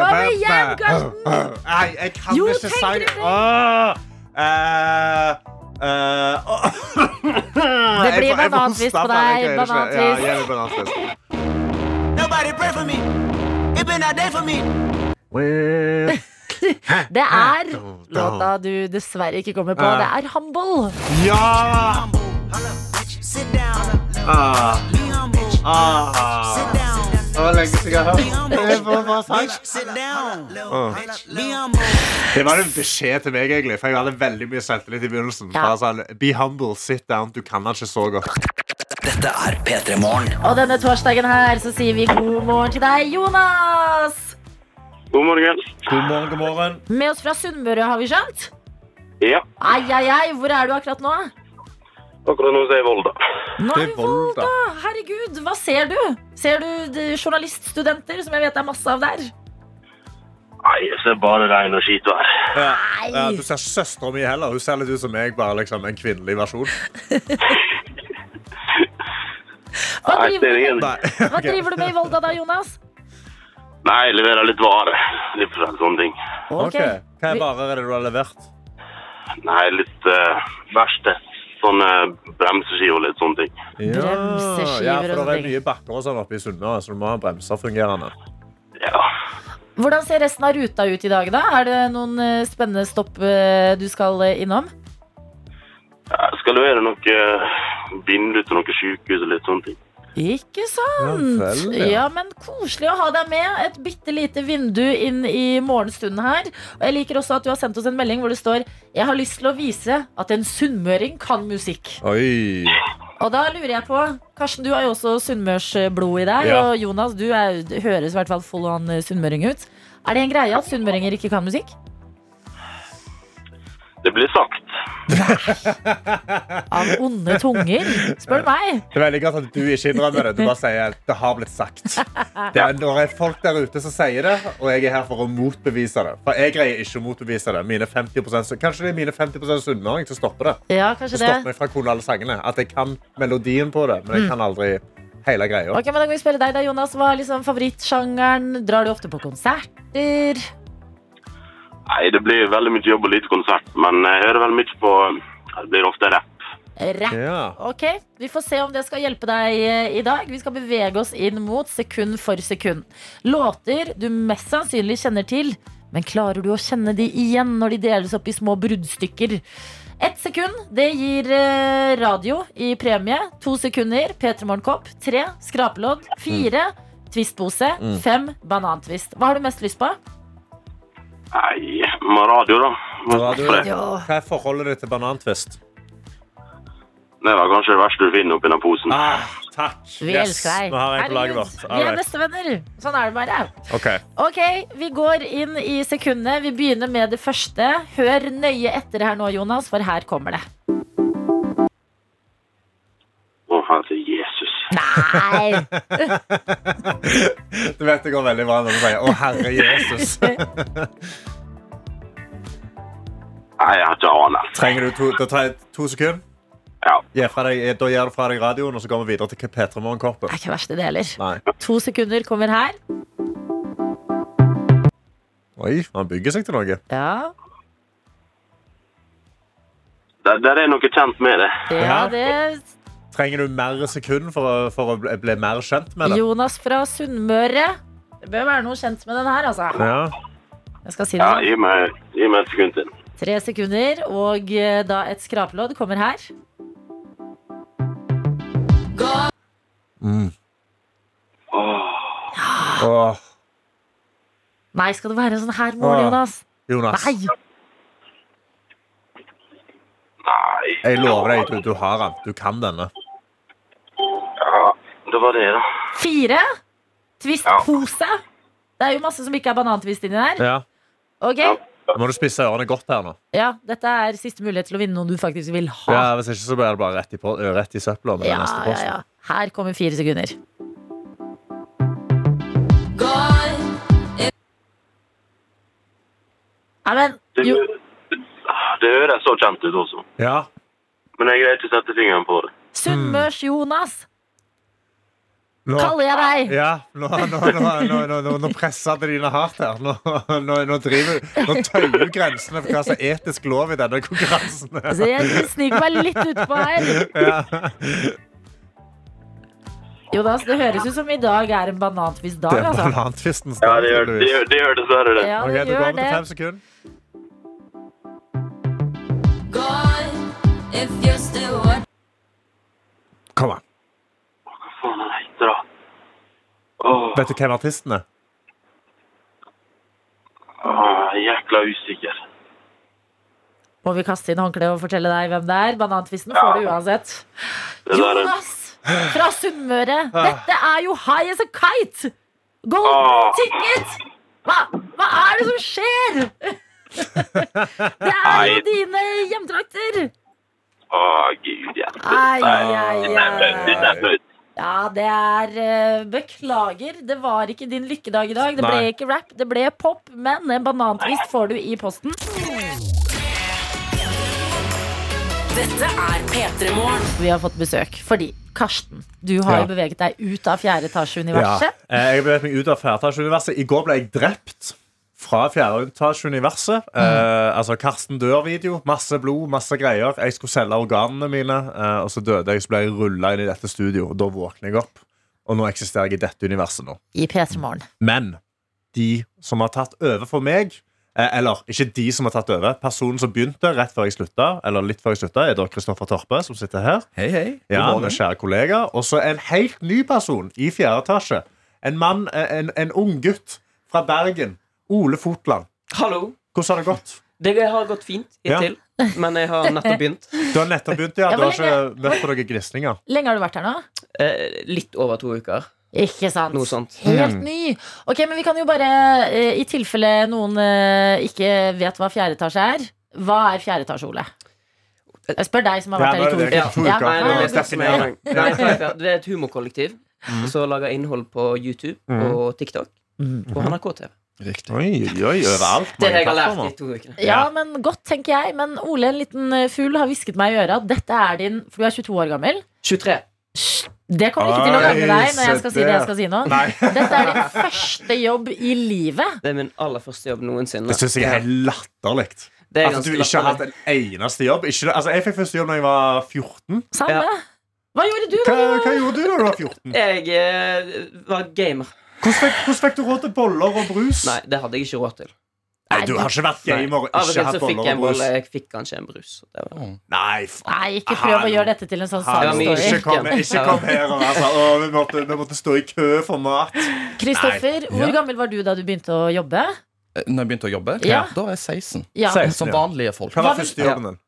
S3: Oh,
S2: Karsten!
S3: Nei, jeg kan
S2: Jo,
S3: ikke
S2: tenk
S3: sangen.
S2: deg det.
S3: Åh, eh, eh, åh. <laughs> Jeg
S2: blir
S3: får- jeg får
S2: banantvist
S3: hoste
S2: på
S3: bare, jeg
S2: deg,
S3: greier ikke.
S2: banantvist.
S3: Ja, er gi meg banantvist. Well,
S2: Det er
S3: Eh.
S2: låta du dessverre ikke kommer på.
S3: Ja.
S2: Det er Humble.
S3: Ja!
S4: Sit down.
S3: Ah,
S4: Be humble.
S3: ah.
S4: Sit down.
S3: Det var lenge siden jeg har
S4: Be
S3: hørt
S4: humble.
S3: det. var bare sang.
S4: Bitch, sit down.
S3: Oh.
S4: Bitch, Be humble.
S3: Det var en beskjed til meg, egentlig, for jeg hadde veldig mye selvtillit i begynnelsen.
S2: Ja.
S3: Bare sånn, Be humble, sit down, du kan den ikke så godt.
S5: Dette er P3 Morgen.
S2: Og denne torsdagen her så sier vi god morgen til deg, Jonas.
S6: God morgen.
S3: God morgen, god morgen.
S2: Med oss fra Sunnmøre, har vi skjønt?
S6: Ja,
S2: Ai, ai, ai, hvor er du akkurat nå?
S6: akkurat nå så er jeg i Volda.
S2: Nå
S3: Det
S2: er
S3: er
S2: vi i Volda.
S3: Volda.
S2: Herregud, hva ser du? Ser du de journaliststudenter, som jeg vet det er masse av der?
S6: Nei, jeg ser bare regn og skitvær.
S3: Ja.
S2: Nei.
S3: Ja, du ser ikke søstera mi heller. Hun ser litt ut som meg, bare liksom en kvinnelig versjon.
S2: Hva
S6: Nei,
S2: driver,
S6: ser
S2: du
S6: ingen.
S2: med?
S3: Nei, <laughs>
S2: hva
S3: ok.
S2: driver du med i Volda da, Jonas?
S6: Nei, jeg leverer litt vare. Litt for sånne ting.
S3: Ok. Hva er varer er det du har levert?
S6: Nei, litt uh, verste. Sånne bremseski og litt sånne ting.
S2: Bremseskiver
S3: ja, for
S2: og
S3: det
S2: sånne
S3: er
S2: ting.
S3: mye bakker og sånn oppe i Sunna, så du må ha bremser fungerende.
S6: Ja.
S2: Hvordan ser resten av ruta ut i dag, da? Er det noen eh, spennende stopp eh, du skal eh, innom?
S6: Jeg skal levere noe eh, vindu til noe sykehus og litt sånne ting.
S2: Ikke sant? Ja,
S3: Ja, vel, ja.
S2: men Koselig å ha deg med. Et bitte lite vindu inn i morgenstunden her. Og jeg liker også at du har sendt oss en melding hvor det står Jeg har lyst til å vise at en sunnmøring kan musikk.
S3: Oi.
S2: Og da lurer jeg på Karsten, du har jo også sunnmørsblod i deg.
S3: Ja.
S2: Og Jonas, du er, du høres i hvert fall full on sunnmøring ut. Er det en greie at sunnmøringer ikke kan musikk?
S6: Det blir sagt.
S2: Av onde tunger? Spør du meg.
S3: Det er veldig godt at du ikke innrømmer det. Du bare sier at det har blitt sagt. Det er, når det er folk der ute som sier det, og jeg er her for å motbevise det. For jeg greier ikke å motbevise det. Mine 50 så- Kanskje det er mine 50 sunnmøring som stopper det.
S2: Ja,
S3: Som
S2: kanskje det. Mm.
S3: stopper meg fra å kunne alle sangene. At jeg kan melodien på det, men jeg kan aldri hele greia.
S2: Ok, men Da kan vi spørre deg, da, Jonas. Hva er liksom favorittsjangeren? Drar du ofte på konserter?
S6: Nei, det blir veldig mye jobb og lite konsert, men jeg hører veldig mye på Det blir ofte rapp.
S2: Rapp?
S3: Ja.
S2: Ok, Vi får se om det skal hjelpe deg eh, i dag. Vi skal bevege oss inn mot sekund for sekund. Låter du mest sannsynlig kjenner til, men klarer du å kjenne de igjen når de deles opp i små bruddstykker? Ett sekund, det gir eh, radio i premie. To sekunder, P3 Morgenkopp. Tre, skrapelodd. Fire,
S3: Mm.
S2: twistpose. Fem, banantvist. Hva har du mest lyst på?
S6: Nei, med radio, da. Må
S3: Radio.
S6: passe på Det.
S3: Hva er forholdet ditt til banantvist?
S6: det var kanskje det verste du finner oppi den posen.
S3: Ah, takk.
S2: Vi elsker deg.
S3: Nå har jeg på laget
S2: Herregud,
S3: vårt.
S2: Vi
S3: All
S2: er
S3: right.
S2: bestevenner. Sånn er det bare.
S3: Ok.
S2: Ok, vi går inn i sekundene. Vi begynner med det første. Hør nøye etter her nå, Jonas, for her kommer det.
S6: Å, herre Jesus.
S2: Nei!
S3: Du vet det går veldig bra når du sier 'Å, herre
S2: <laughs>
S3: Jesus'.
S6: Nei, jeg har ikke anelse.
S3: Trenger du to, da tar jeg to sekunder?
S6: Ja.
S3: Gi fra deg, eh, da gir du fra deg radioen, og så går vi videre til P3 Morgenkoppen.
S2: Det er ikke verst, det heller.
S3: Nei.
S2: To sekunder kommer her.
S3: Oi, han bygger seg til noe.
S2: Ja,
S6: Der, der er noe kjent med det.
S2: ja det
S3: Trenger du mer sekund for å, for å bli, bli mer kjent med det?
S2: Jonas fra Sunnmøre. Det bør være noe kjent med den her, altså.
S3: Ja.
S2: Jeg skal si
S6: Ja,
S2: det.
S6: gi meg, gi meg et sekund til.
S2: nå. Tre sekunder, og eh, da et skrapelodd kommer her.
S3: Åh,
S2: Nei, skal det være sånn her mål,
S3: Åh.
S2: Jonas?
S3: Jonas,
S2: Nei!
S6: Nei.
S3: jeg lover deg, du, du har den. Du kan denne.
S6: Ja, det var det, da.
S2: Fire. Twist-pose. Det er jo masse som ikke er banantvist inni der.
S3: Ja.
S2: Ok,
S3: Nå må du spisse ørene godt her nå.
S2: Ja, dette er siste mulighet til å vinne noen du faktisk vil ha.
S3: Ja, hvis ikke så blir det bare rett i, på- ø, rett i søpla med
S2: ja,
S3: den neste
S2: ja,
S3: posten.
S2: ja. Her kommer fire sekunder. Nei, men
S6: Det,
S2: jo,
S6: det høres så kjent ut også.
S3: Ja.
S6: Men jeg greier ikke å sette fingeren på det.
S3: Mm.
S2: Sunnmørs-Jonas
S3: Nå,
S2: kaller jeg deg.
S3: ja, nå, nå, nå, nå, nå, nå, nå presser det dine hardt her. Nå, nå, nå, driver, nå tøyer du grensene for hva som er etisk lov i denne konkurransen.
S2: Så jeg sniker meg litt utpå her. Jonas, det høres ut som i dag er en banantvist dag,
S3: Det er
S2: altså.
S3: banantvisten.
S6: Ja, det gjør, det gjør, det gjør dessverre det.
S2: Ja,
S3: Ok,
S2: det
S3: du kommer
S2: gjør
S3: til
S2: det.
S3: fem sekunder. Kom an.
S6: Hva faen er det heter, da? Åh,
S3: Vet du hvem artisten er?
S6: åh, jækla usikker.
S2: Må vi kaste inn håndkleet og fortelle deg hvem det er? Banantvisten får du uansett.
S6: Det der er
S2: Jonas fra Sunnmøre. Dette er jo high as a kite! Golden
S6: Ah.
S2: ticket! Hva, hva er det som skjer?
S6: <laughs>
S2: Det er jo
S6: Nei.
S2: dine hjemtrakter!
S6: Åh, gud hjelpe.
S2: Ai,
S6: Nei,
S2: ai,
S6: det er flaut,
S2: ai.
S6: det er flaut.
S2: Ja, det er eh, Beklager, det var ikke din lykkedag i dag. Det ble
S3: Nei.
S2: ikke rap, det ble pop, men en banantvist får du i posten.
S1: Dette er P3 Morgen.
S2: Vi har fått besøk fordi Karsten, du har
S3: Ja.
S2: jo beveget deg ut av fjerde
S3: Ja.
S2: etasje-universet.
S3: Eh, Jeg beveget meg ut av fjerdeetasjeuniverset. I går ble jeg drept fra fjerdeetasjeuniverset.
S2: Mm.
S3: Eh, altså Karsten dør-video. Masse blod, masse greier. Jeg skulle selge organene mine, eh, og så døde jeg. Så ble jeg rulla inn i dette studio, og da våkner jeg opp. Og nå eksisterer jeg i dette universet nå.
S2: i P3 Morgen.
S3: Men de som har tatt over for meg eh, Eller ikke de som har tatt over Personen som begynte rett før jeg slutta Eller litt før jeg slutta Er da Kristoffer Torpe som sitter her
S7: Hei, hei. God
S3: ja,
S7: morgen.
S3: med kjære kollega Og så en helt ny person i fjerde etasje En mann, eh, en, en ung gutt Fra Bergen Ole Fotland
S8: Hallo.
S3: Hvordan har det gått?
S8: Det har gått fint hittil, men jeg har nettopp begynt.
S3: Du har nettopp begynt, ja
S2: Ja,
S3: Du har
S2: hvor
S3: ikke møtt på noen grisninger
S2: Lenge har du vært her nå?
S8: Eh, litt over to uker.
S2: Ikke sant?
S8: Noe sånt.
S2: Helt
S3: Mm.
S2: ny! Ok, men vi kan jo bare, eh, i tilfelle noen eh, ikke vet hva fjerde etasje er Hva er fjerde etasje, Ole? Jeg spør deg som har
S3: Ja,
S2: vært her i
S3: nå
S2: to
S3: er Mm. det
S2: uker.
S8: Ja.
S3: to
S2: Ja,
S3: uker.
S8: Nei, det,
S2: Nei, altså, det
S8: var
S2: er
S8: det, som er, Nei, Firefair, det er et humorkollektiv som lager innhold på YouTube
S3: Mm.
S8: og TikTok og NRK-TV.
S7: Riktig.
S3: Oi, oi, oi, overalt.
S8: Det
S3: mange
S8: jeg har lært
S3: plattformer.
S8: i to uker.
S2: Ja, men godt, tenker jeg. Men Ole, en liten eh, fugl har hvisket meg i øret at dette er din For du er 22 år gammel.
S8: 23.
S2: Det kommer ikke til å gagne
S3: Oi,
S2: deg når jeg skal
S3: se
S2: si det jeg
S3: der.
S2: skal si nå.
S3: Nei. <laughs>
S2: Dette er din første jobb i livet.
S8: Det er min aller første jobb noensinne.
S3: Det syns jeg er
S8: Ja,
S3: helt latterlig.
S8: det er
S3: At Altså, du
S8: ganske
S3: ikke har hatt
S8: latterlig.
S3: en eneste jobb. Ikke, altså, jeg fikk første jobb da jeg var 14.
S2: Samme.
S8: Ja.
S2: Hva gjorde du?
S3: Hva,
S2: da?
S3: hva gjorde du da du var 14?
S8: Jeg eh, var gamer.
S3: Hvordan fikk, hvordan fikk du råd til boller og brus?
S8: Nei, det hadde jeg ikke råd til.
S3: Nei, du har ikke vært gamer og
S8: Av og
S3: ikke
S8: til
S3: hatt
S8: så fikk
S3: boller
S8: jeg en
S3: og brus.
S8: bolle. Jeg fikk kanskje en brus. Det var.
S3: Nei, faen.
S2: Nei, ikke prøv å gjøre dette til en sånn
S3: Hallo,
S8: Altså, var mye
S2: sad
S3: Ikke
S2: story.
S8: kjekk.
S3: kom, ikke kom her og være sånn Å, vi måtte, vi måtte stå i kø for mat.
S2: Kristoffer, hvor
S7: Ja.
S2: gammel var du da du begynte å jobbe?
S7: Eh, Når jeg begynte å jobbe,
S2: Ja.
S7: da var jeg 16.
S2: Ja.
S3: Se. 16,
S7: Som
S3: ja.
S7: vanlige folk.
S2: Hva
S3: Hva var
S2: vil-
S3: første jobben din?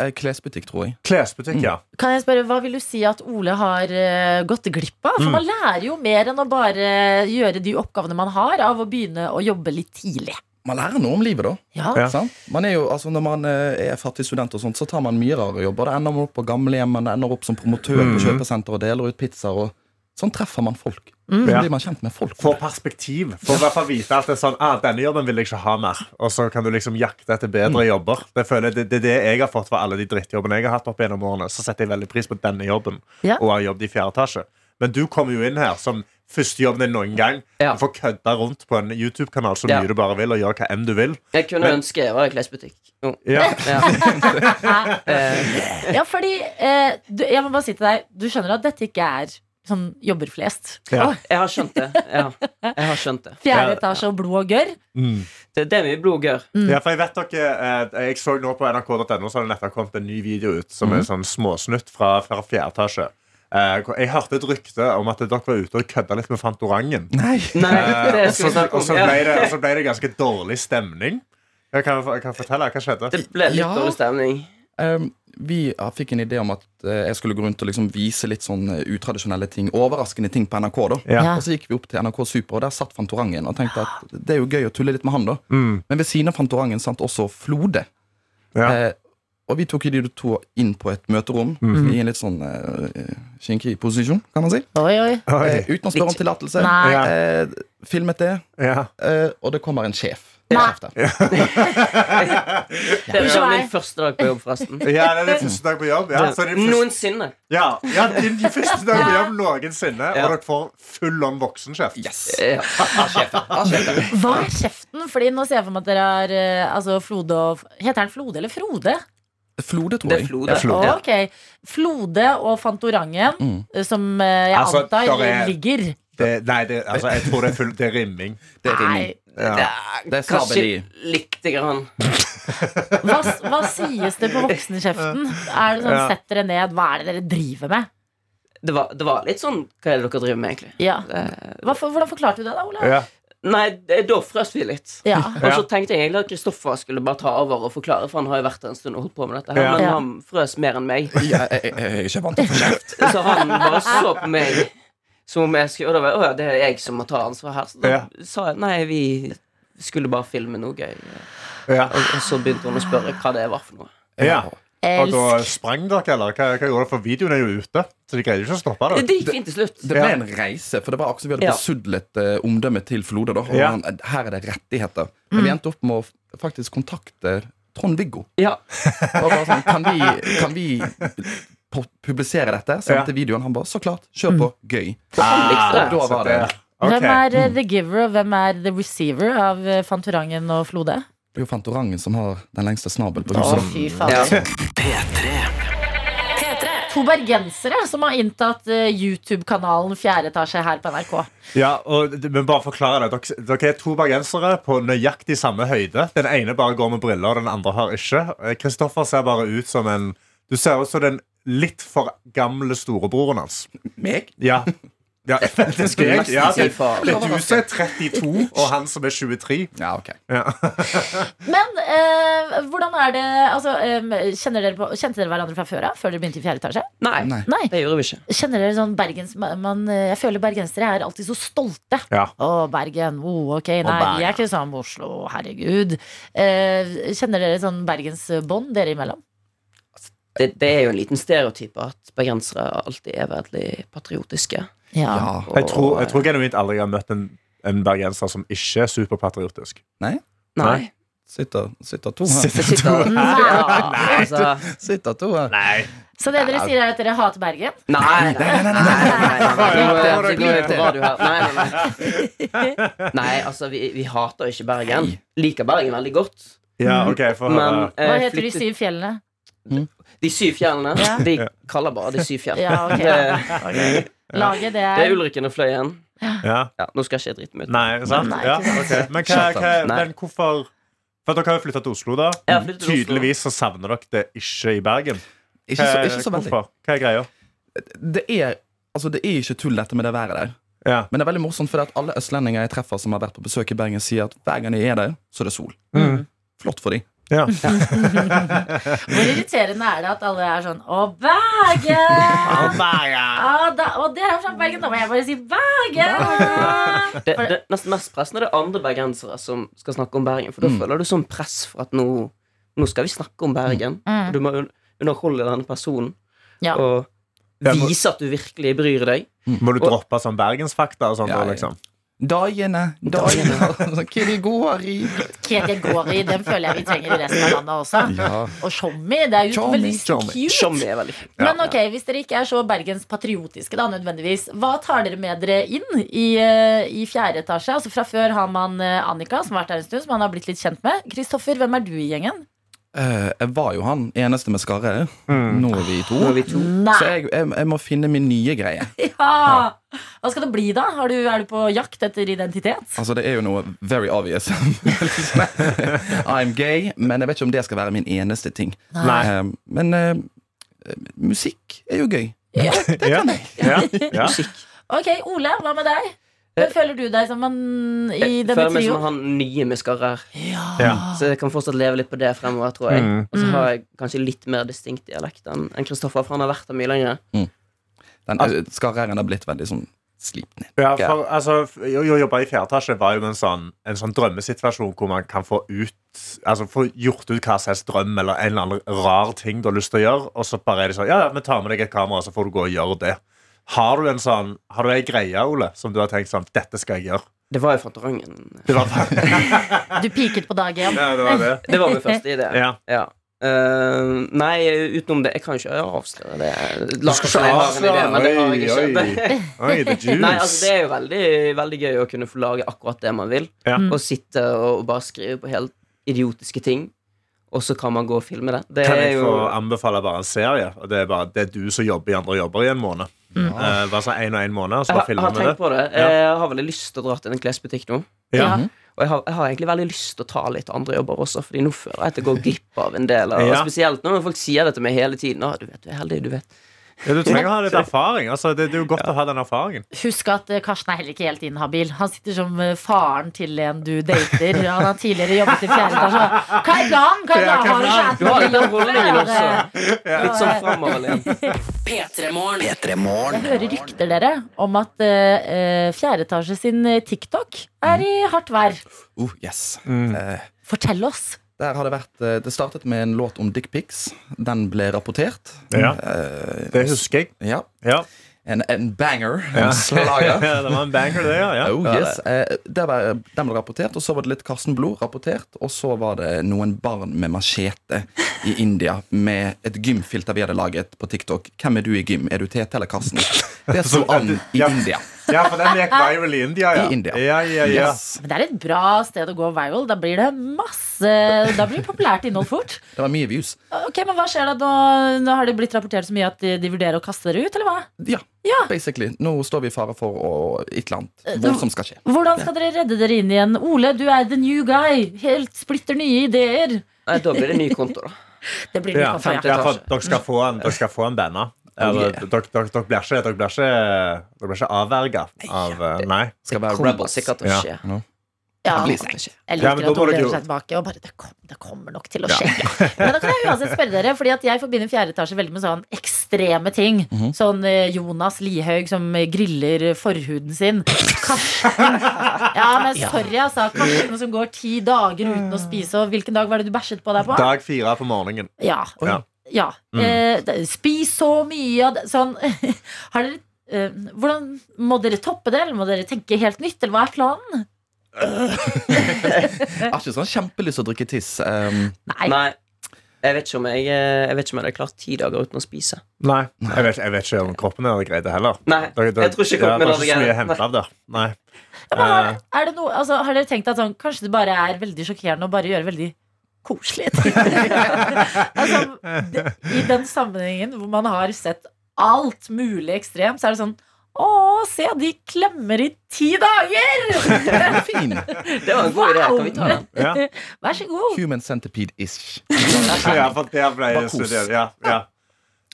S7: Eh, Klesbutikk, tror jeg.
S3: Klesbutikk, ja.
S2: Kan jeg spørre, Hva vil du si at Ole har eh, gått glipp av?
S3: Mm.
S2: For man lærer jo mer enn å bare eh, gjøre de oppgavene man har, av å begynne å jobbe litt tidlig.
S7: Man lærer noe om livet, da.
S2: Ja,
S3: Ja.
S7: Sant? Man er jo, altså, når man eh, er fattig student, og sånt, så tar man mye rare jobber. Det ender man opp på gamlehjem, man ender opp som promotør
S3: Mm.
S7: på kjøpesenter og deler ut pizzaer. og Sånn treffer man folk. Så
S3: Ja.
S7: blir man kjent med folk.
S3: Få perspektiv. Få i hvert fall vite at det er sånn ah, denne jobben vil jeg ikke ha mer. Og så kan du liksom jakte etter bedre
S8: Mm.
S3: jobber. Det, føler jeg, det, det er det jeg har fått fra alle de drittjobbene jeg har hatt opp gjennom årene. Så setter jeg veldig pris på denne jobben
S2: Ja.
S3: og har jobbet i fjerde etasje. Men du kommer jo inn her som første jobben din noen gang.
S8: Ja.
S3: Du får kødda rundt på en YouTube-kanal så mye
S8: Ja.
S3: du bare vil, og gjøre hva enn du vil.
S8: Jeg kunne
S3: Men-
S8: ønske jeg var
S3: <laughs>
S8: i klesbutikk. Jo.
S3: Ja.
S8: Ja. Eh,
S2: ja fordi eh, du, Jeg må bare si til deg, du skjønner at dette ikke er sånn jobber flest.
S3: Ja.
S2: Åh,
S8: jeg har skjønt det. Ja. Jeg har skjønt det.
S2: Fjerde
S3: Ja.
S2: etasje og blod og gørr.
S3: Mm.
S8: Det, det er mye blod og gørr.
S3: Ja, for jeg vet dere eh, Jeg så nå på nrk.no Så har det nettopp kommet en ny video ut Som
S8: Mm.
S3: er sånn småsnutt fra, fra fjerde etasje eh, hvor- Jeg hørte et rykte om at dere var ute Og kødda litt med Fantorangen
S7: Nei!
S8: Nei, <laughs> det
S3: eh, og,
S8: skal
S3: så,
S8: vi snakke
S3: og, så
S8: om.
S3: ble
S8: Ja.
S3: det, og så ble det ganske dårlig stemning jeg kan, jeg kan fortelle, hva skjedde?
S8: Det ble litt
S7: Ja.
S8: dårlig stemning.
S7: Ehm, vi ja, fikk en idé om at eh, jeg skulle gå rundt og liksom vise litt sånn eh, utradisjonelle ting. Overraskende ting på NRK, da.
S3: Ja.
S2: Ja.
S7: Og så gikk vi opp til NRK Super, og der satt Fantorangen. Og tenkte at det er jo gøy å tulle litt med han, da.
S3: Mm.
S7: Men ved siden av Fantorangen satt også Flode.
S3: Ja.
S7: Eh, og vi tok jo de to inn på et møterom
S3: Mhm.
S7: i en litt sånn eh, kinkig posisjon, kan man si.
S2: Oi, oi.
S7: Eh,
S3: Oi.
S7: uten å spørre om tillatelse.
S2: Nei.
S3: Ja.
S7: Eh, filmet det,
S8: <laughs>
S3: Ja.
S7: eh, og det kommer en sjef.
S2: Nei.
S7: Sjef der.
S8: Det
S2: Unnskyld meg.
S8: var min første dag på jobb, forresten.
S3: ja, det er din første dag på jobb Ja, så din første,
S8: Noensinne.
S3: ja, ja din første dag på jobb noensinne Og
S8: Ja.
S3: dere får full-on voksenskjeft
S7: Yes!
S8: Ja.
S7: Ah, sjef der.
S2: Hva er kjeften? Fordi nå ser jeg for meg at dere har eh, altså Flode og Heter han Flode eller Frode?
S7: Flode, tror
S8: Det er
S7: jeg.
S8: Flode.
S2: Å, Ok. Flode og Fantorangen, eh, som eh, jeg
S3: Mm. Altså,
S2: antar
S3: der er-
S2: ligger
S3: det, Nei, det, altså, jeg tror det er, full, det er rimming
S7: Det er
S2: Nei.
S7: rimelig. Det er
S8: Kanskje
S7: snabel
S8: lite grann.
S2: Hva, hva sies det
S3: <laughs>
S2: på voksenkjeften? Er det sånn
S3: Ja.
S2: 'sett dere ned', hva er det dere driver med?
S8: Det var, det var litt sånn Hva er det dere driver med, egentlig?
S2: Ja.
S8: Eh,
S2: Hva, for- hvordan forklarte du det, da, Ole?
S3: ja.
S8: Nei, det, da frøs vi litt.
S2: Ja.
S8: Og så tenkte jeg egentlig at Kristoffer skulle bare ta over og forklare, for han har jo vært her en stund og holdt på med dette. her
S3: Ja.
S8: Men
S2: Ja.
S8: han frøs mer enn meg.
S7: i. Jeg, jeg, jeg, jeg er ikke vant til å få kjeft.
S8: Så han bare så på meg som om jeg skulle Og da var jeg, «Å ja, det er jeg som må ta ansvar her. Så da
S3: Ja.
S8: sa jeg nei, vi skulle bare filme noe gøy.
S3: Ja.
S8: Og, og så begynte hun å spørre hva det var for noe.
S3: Ja. <laughs> Og da
S2: Elsk.
S3: sprang dere, eller? Hva, hva gjorde dere? For videoen er jo ute. Så de greide jo ikke å stoppe det.
S8: Det gikk fint til slutt.
S7: Det ble
S3: Ja.
S7: en reise, for det var akkurat som vi
S8: Ja.
S7: hadde besudlet eh, omdømmet til Flode. da, og
S3: Ja.
S7: han, eh, Her er det rettigheter. Men
S8: Mm.
S7: vi endte opp med å f- faktisk kontakte Trond-Viggo.
S8: Ja.
S7: Og bare sånn, kan vi, kan vi pu- publisere dette? Sendte videoen. Han bare så klart. Kjør på. Gøy.
S8: Han likte
S7: og da
S8: det.
S7: var det
S2: Hvem
S3: Ok. Mm.
S2: er eh, the giver, og hvem er the receiver av eh, Fantorangen og Flode?
S7: Det er jo Fantorangen som har den lengste snabel på
S2: Å,
S7: huset. da.
S2: fy fader.
S1: P3.
S2: To bergensere som har inntatt eh, YouTube-kanalen Fjerde etasje her på NRK.
S3: Ja, og, d- men bare forklare det. Dere, dere er to bergensere på nøyaktig samme høyde. Den ene bare går med briller, og den andre har ikke. Eh, Kristoffer ser bare ut som en Du ser ut som den litt for gamle storebroren hans.
S7: Meg?
S3: Ja. Ja, det skal jeg. Ja,
S8: si
S3: det,
S8: faen.
S3: det er du som er 32, og han som er 23.
S7: Ja, ok
S2: Men eh, hvordan er det altså, eh, kjenner dere på, Kjente dere hverandre fra før av? Før dere begynte i fjerde etasje?
S8: Nei,
S7: Nei.
S2: Nei.
S8: det gjorde vi ikke.
S2: Kjenner dere sånn Bergens man, eh, Jeg føler bergensere er alltid så stolte.
S3: Ja.
S2: Å, Bergen. Oh, ok, nei,
S3: Bergen.
S2: vi er ikke sammen med Oslo. Herregud. Eh, kjenner dere sånn bergensbånd dere imellom?
S8: Det, det er jo en liten stereotyp at bergensere alltid er veldig patriotiske.
S2: Ja.
S7: Ja.
S3: Jeg tror, jeg tror genuint aldri jeg har møtt en, en bergenser som ikke er superpatriotisk.
S8: Nei.
S7: Sitter, sitter to her.
S8: Det sitter
S2: Nei.
S8: Ja, altså,
S7: Sitter to her.
S3: Nei.
S2: Så det dere sier, er at dere hater Bergen?
S8: Nei, nei, nei, nei, nei, nei, nei. Nå er jeg- nå er jeg på radio her. Nei, nei, nei. <laughs> nei altså, vi, vi hater ikke Bergen. Liker Bergen veldig godt.
S3: Ja, ok, få høre.
S8: Men
S2: Hva
S8: eh,
S2: heter de syv fjellene?
S8: de syv fjellene,
S2: Ja.
S8: de kaller bare de syv fjellene.
S2: Ja, ok.
S8: Det,
S2: ok. Laget, det
S8: <laughs> det er
S2: er
S8: Ulriken og Fløyen.
S3: Ja.
S8: Ja, nå skal ikke jeg drite meg ut.
S3: Nei, sant?
S2: Nei,
S3: Ja,
S2: ikke sant.
S3: ok. Men, hva, hva,
S8: Nei.
S3: men hvorfor For dere har jo flytta til Oslo, da.
S8: Jeg har flyttet til Oslo.
S3: Tydeligvis så savner dere det ikke i Bergen.
S7: Ikke
S3: Hva,
S7: så, ikke så veldig.
S3: hvorfor? Hva er greia?
S7: Det er, altså, det er ikke tull, dette med det været der.
S3: Ja.
S7: Men det er veldig morsomt, fordi at alle østlendinger jeg treffer som har vært på besøk i Bergen, sier at hver gang de er der, så er det sol. Flott for de.
S3: Ja.
S2: Hvor irriterende er det at alle er sånn Å, <laughs> Bergen!
S3: Ja.
S2: Ah, da, og dere er fra Bergen, da må jeg bare si <laughs> Bergen!
S8: Det, det nesten mest pressende er det andre bergensere som skal snakke om Bergen. For da
S3: Mm.
S8: føler du sånn press for at nå, nå skal vi snakke om Bergen.
S2: Mm.
S8: Og du må un- underholde denne personen
S2: Ja.
S8: og
S3: Jeg må-
S8: vise at du virkelig bryr deg.
S3: Må du droppe sånn bergensfakta og sånn?
S7: Ja,
S3: da,
S7: ja.
S3: Liksom?
S7: Dagene, <laughs> dagene Kirigori.
S2: Ketil Gori, den føler jeg vi trenger i resten av landet også.
S7: Ja.
S2: Og Tjommi, det er jo
S7: Tjommi,
S2: veldig
S7: Tjommi.
S2: cute.
S8: Som er veldig fint.
S2: Men ok, hvis dere ikke er så bergenspatriotiske, da, nødvendigvis, hva tar dere med dere inn i, eh, i fjerde etasje? Altså Fra før har man eh, Annika, som har vært her en stund, som han har blitt litt kjent med. Kristoffer, hvem er du i gjengen?
S7: Eh, jeg var jo han eneste med skarre.
S3: Mm.
S7: Nå er vi to.
S8: Nå er vi to.
S7: Så
S2: Nei!
S7: jeg, jeg, jeg må finne min nye greie.
S2: <laughs> Ja! Hva skal det bli, da? Har du, er du på jakt etter
S7: <laughs>
S2: identitet?
S7: Altså, det er jo noe very obvious. <laughs> I'm gay, men jeg vet ikke om det skal være min eneste ting.
S3: Nei.
S7: Eh, men eh, musikk er jo gøy.
S2: Ja.
S7: Det kan jeg. <laughs>
S3: Ja. Ja.
S2: Ok, Ole, hva med deg? Hvem føler du deg som en i
S8: Jeg
S2: denne
S8: eh,
S2: Ah.
S8: føler meg som
S2: trioen?
S8: han nye med skarrer,
S3: Ja.
S8: så jeg kan fortsatt leve litt på det fremover. tror jeg
S3: Mm.
S8: Og så har jeg kanskje litt mer distinkt dialekt enn enn Kristoffer, for han har vært der mye lenger.
S7: Den eh, skarre-r-en har blitt veldig sånn slipt ned.
S3: Ja, for altså, f- jo- jo, å jobbe i fjerde etasje var jo en sånn, en sånn drømmesituasjon hvor man kan få ut Altså få gjort ut hva som helst drøm eller en eller annen rar ting du har lyst til å gjøre, og så bare er det sånn Ja, ja, vi tar med deg et kamera, så får du gå og gjøre det. Har du en sånn Har du ei greie, Ole, som du har tenkt sånn Dette skal jeg gjøre.
S8: Det var jo
S2: <laughs>
S8: Fantorangen.
S3: Det var bare
S2: Du piket på dag én.
S3: <laughs> ja, det. Var det.
S8: Det var min første idé.
S3: Ja.
S8: Ja. Eh, nei, utenom det Jeg kan ikke avsløre det. La oss
S3: skal
S8: si jeg har en
S3: avsløre?
S8: idé, men det har jeg
S3: Oi,
S8: ikke.
S3: Oi, the juice.
S8: <laughs> nei, altså Det er jo veldig, veldig gøy å kunne få lage akkurat det man vil.
S3: Ja.
S8: Og sitte og bare skrive på helt idiotiske ting, og så kan man gå og filme det. Det
S3: Kan
S8: er
S3: jeg
S8: jo
S3: få anbefale bare en serie? Og det er bare det er du som jobber i andre jobber i en måned. Eh, bare sånn en og en måned, og så bare
S8: Mm. jeg har, jeg
S3: filmer
S8: har
S3: vi det.
S8: tenkt på det. Jeg har veldig lyst til å dra til en klesbutikk nå.
S3: Ja.
S8: Og jeg har, jeg har egentlig veldig lyst til å ta litt andre jobber også, Fordi nå føler jeg at jeg går glipp av en del. av- Og
S3: Ja.
S8: spesielt når folk sier det til meg hele tiden. Å, du vet, du er heldig, du vet.
S3: Ja, du trenger å ha litt erfaring. Altså, det, det er jo godt å ha den erfaringen.
S2: Husk at eh, Karsten er heller ikke helt inhabil. Han sitter som eh, faren til en du dater. Han har tidligere jobbet i fjerde etasje. Hva er planen? Hva er
S3: Ja, hva er
S2: planen? Har
S8: Du har litt den
S3: <laughs>
S8: holdningen
S2: Eh,
S8: også. Litt sånn framoverlent.
S1: P3-morgen.
S2: Jeg hører rykter dere om at eh, eh, fjerde etasje sin eh, TikTok er i hardt vær.
S7: Oh, yes.
S3: Mm.
S7: Eh,
S2: Fortell oss.
S7: der har det vært eh, Det startet med en låt om dickpics. Den ble rapportert.
S3: Ja.
S7: Eh,
S3: Det husker jeg.
S7: ja.
S3: Ja.
S7: En, en banger. En slager.
S3: Ja, det var en banger, det, ja. ja.
S7: Oh, yes. eh, det var, den ble rapportert, og så var det litt Karsten Blod rapportert. Og så var det noen barn med machete i India med et gymfilter vi hadde laget på TikTok. Hvem er du i gym? Er du Tete eller Karsten? Det sto an i
S3: <laughs> Ja.
S7: India.
S3: ja, for den gikk viral i India, ja.
S7: I India.
S3: Ja, ja, ja.
S7: Yes.
S2: Men det er et bra sted å gå viral. Da blir det masse Da blir det populært innhold fort.
S7: Det var mye views.
S2: Ok, men Hva skjer da? Nå, nå har det blitt rapportert så mye at de, de vurderer å kaste dere ut, eller hva?
S7: Ja,
S2: Ja.
S7: basically. Nå står vi i fare for å, et eller annet voldsomt skal skje.
S2: Hvordan skal dere redde dere inn igjen? Ole, du er the new guy. Helt splitter nye ideer.
S8: Nei, da blir det ny konto, da.
S2: Det blir
S3: Ja,
S2: litt for
S3: ja, for dere skal få en, dere skal få en banner. Ja,
S7: Oh,
S3: men
S7: yeah.
S3: Dere dere- dere blir ikke, dere blir ikke, dere blir ikke avverga av eh, Nei.
S7: Skal være
S8: Kommer
S7: rebels.
S8: sikkert til å
S3: Ja.
S8: skje.
S2: Ja,
S8: Blir sikkert skje.
S2: Jeg
S3: Ja,
S2: liker
S3: men da
S2: at
S3: må
S2: hun
S3: dere
S2: lener
S3: jo-
S2: seg tilbake og bare det, kom, det kommer nok til å skje. Men da kan jeg uansett spørre dere, Fordi at jeg forbinder fjerde etasje veldig med sånn ekstreme ting. Sånn eh, Jonas Lihaug som eh, griller forhuden sin. Karsten Ja, men sorry, altså. Karsten som går ti dager uten å spise, og hvilken dag var det du bæsjet på deg på?
S3: Dag fire på morgenen.
S2: Ja.
S3: Ja.
S2: ja.
S8: Mm.
S2: Eh, d- spis så mye av det. Sånn. <laughs> Har dere eh, hvordan, Må dere toppe det, eller må dere tenke helt nytt? Eller hva er planen?
S7: Jeg har ikke sånn kjempelyst til å drikke tiss. Um,
S2: Nei.
S8: Nei. Jeg vet ikke om jeg, eh, jeg, vet ikke om jeg hadde klart ti dager uten å spise.
S3: Nei, jeg vet, jeg vet ikke om kroppen din hadde greid det heller.
S8: Nei,
S3: Dere- dere-
S8: jeg tror ikke
S3: ja,
S8: kroppen min
S3: det
S8: hadde
S3: er ikke så mye å
S8: greid det.
S3: hente av der. Nei.
S2: Men har,
S3: Eh,
S2: er det noe, altså, har dere tenkt at sånn, kanskje det bare er veldig sjokkerende å bare gjøre veldig
S8: <laughs>
S2: koselige ting? altså, d- I den sammenhengen hvor man har sett alt mulig ekstremt, så er det sånn Å, se, de klemmer i ti
S8: <laughs>
S2: dager!
S7: fin.
S8: Det var en god idé. Kan vi ta den?
S3: ja.
S2: <laughs> Vær så god.
S7: Human centipede-ish.
S3: ja, for der ble
S7: Bare
S3: jeg
S7: kos.
S3: studert. Ja, ja.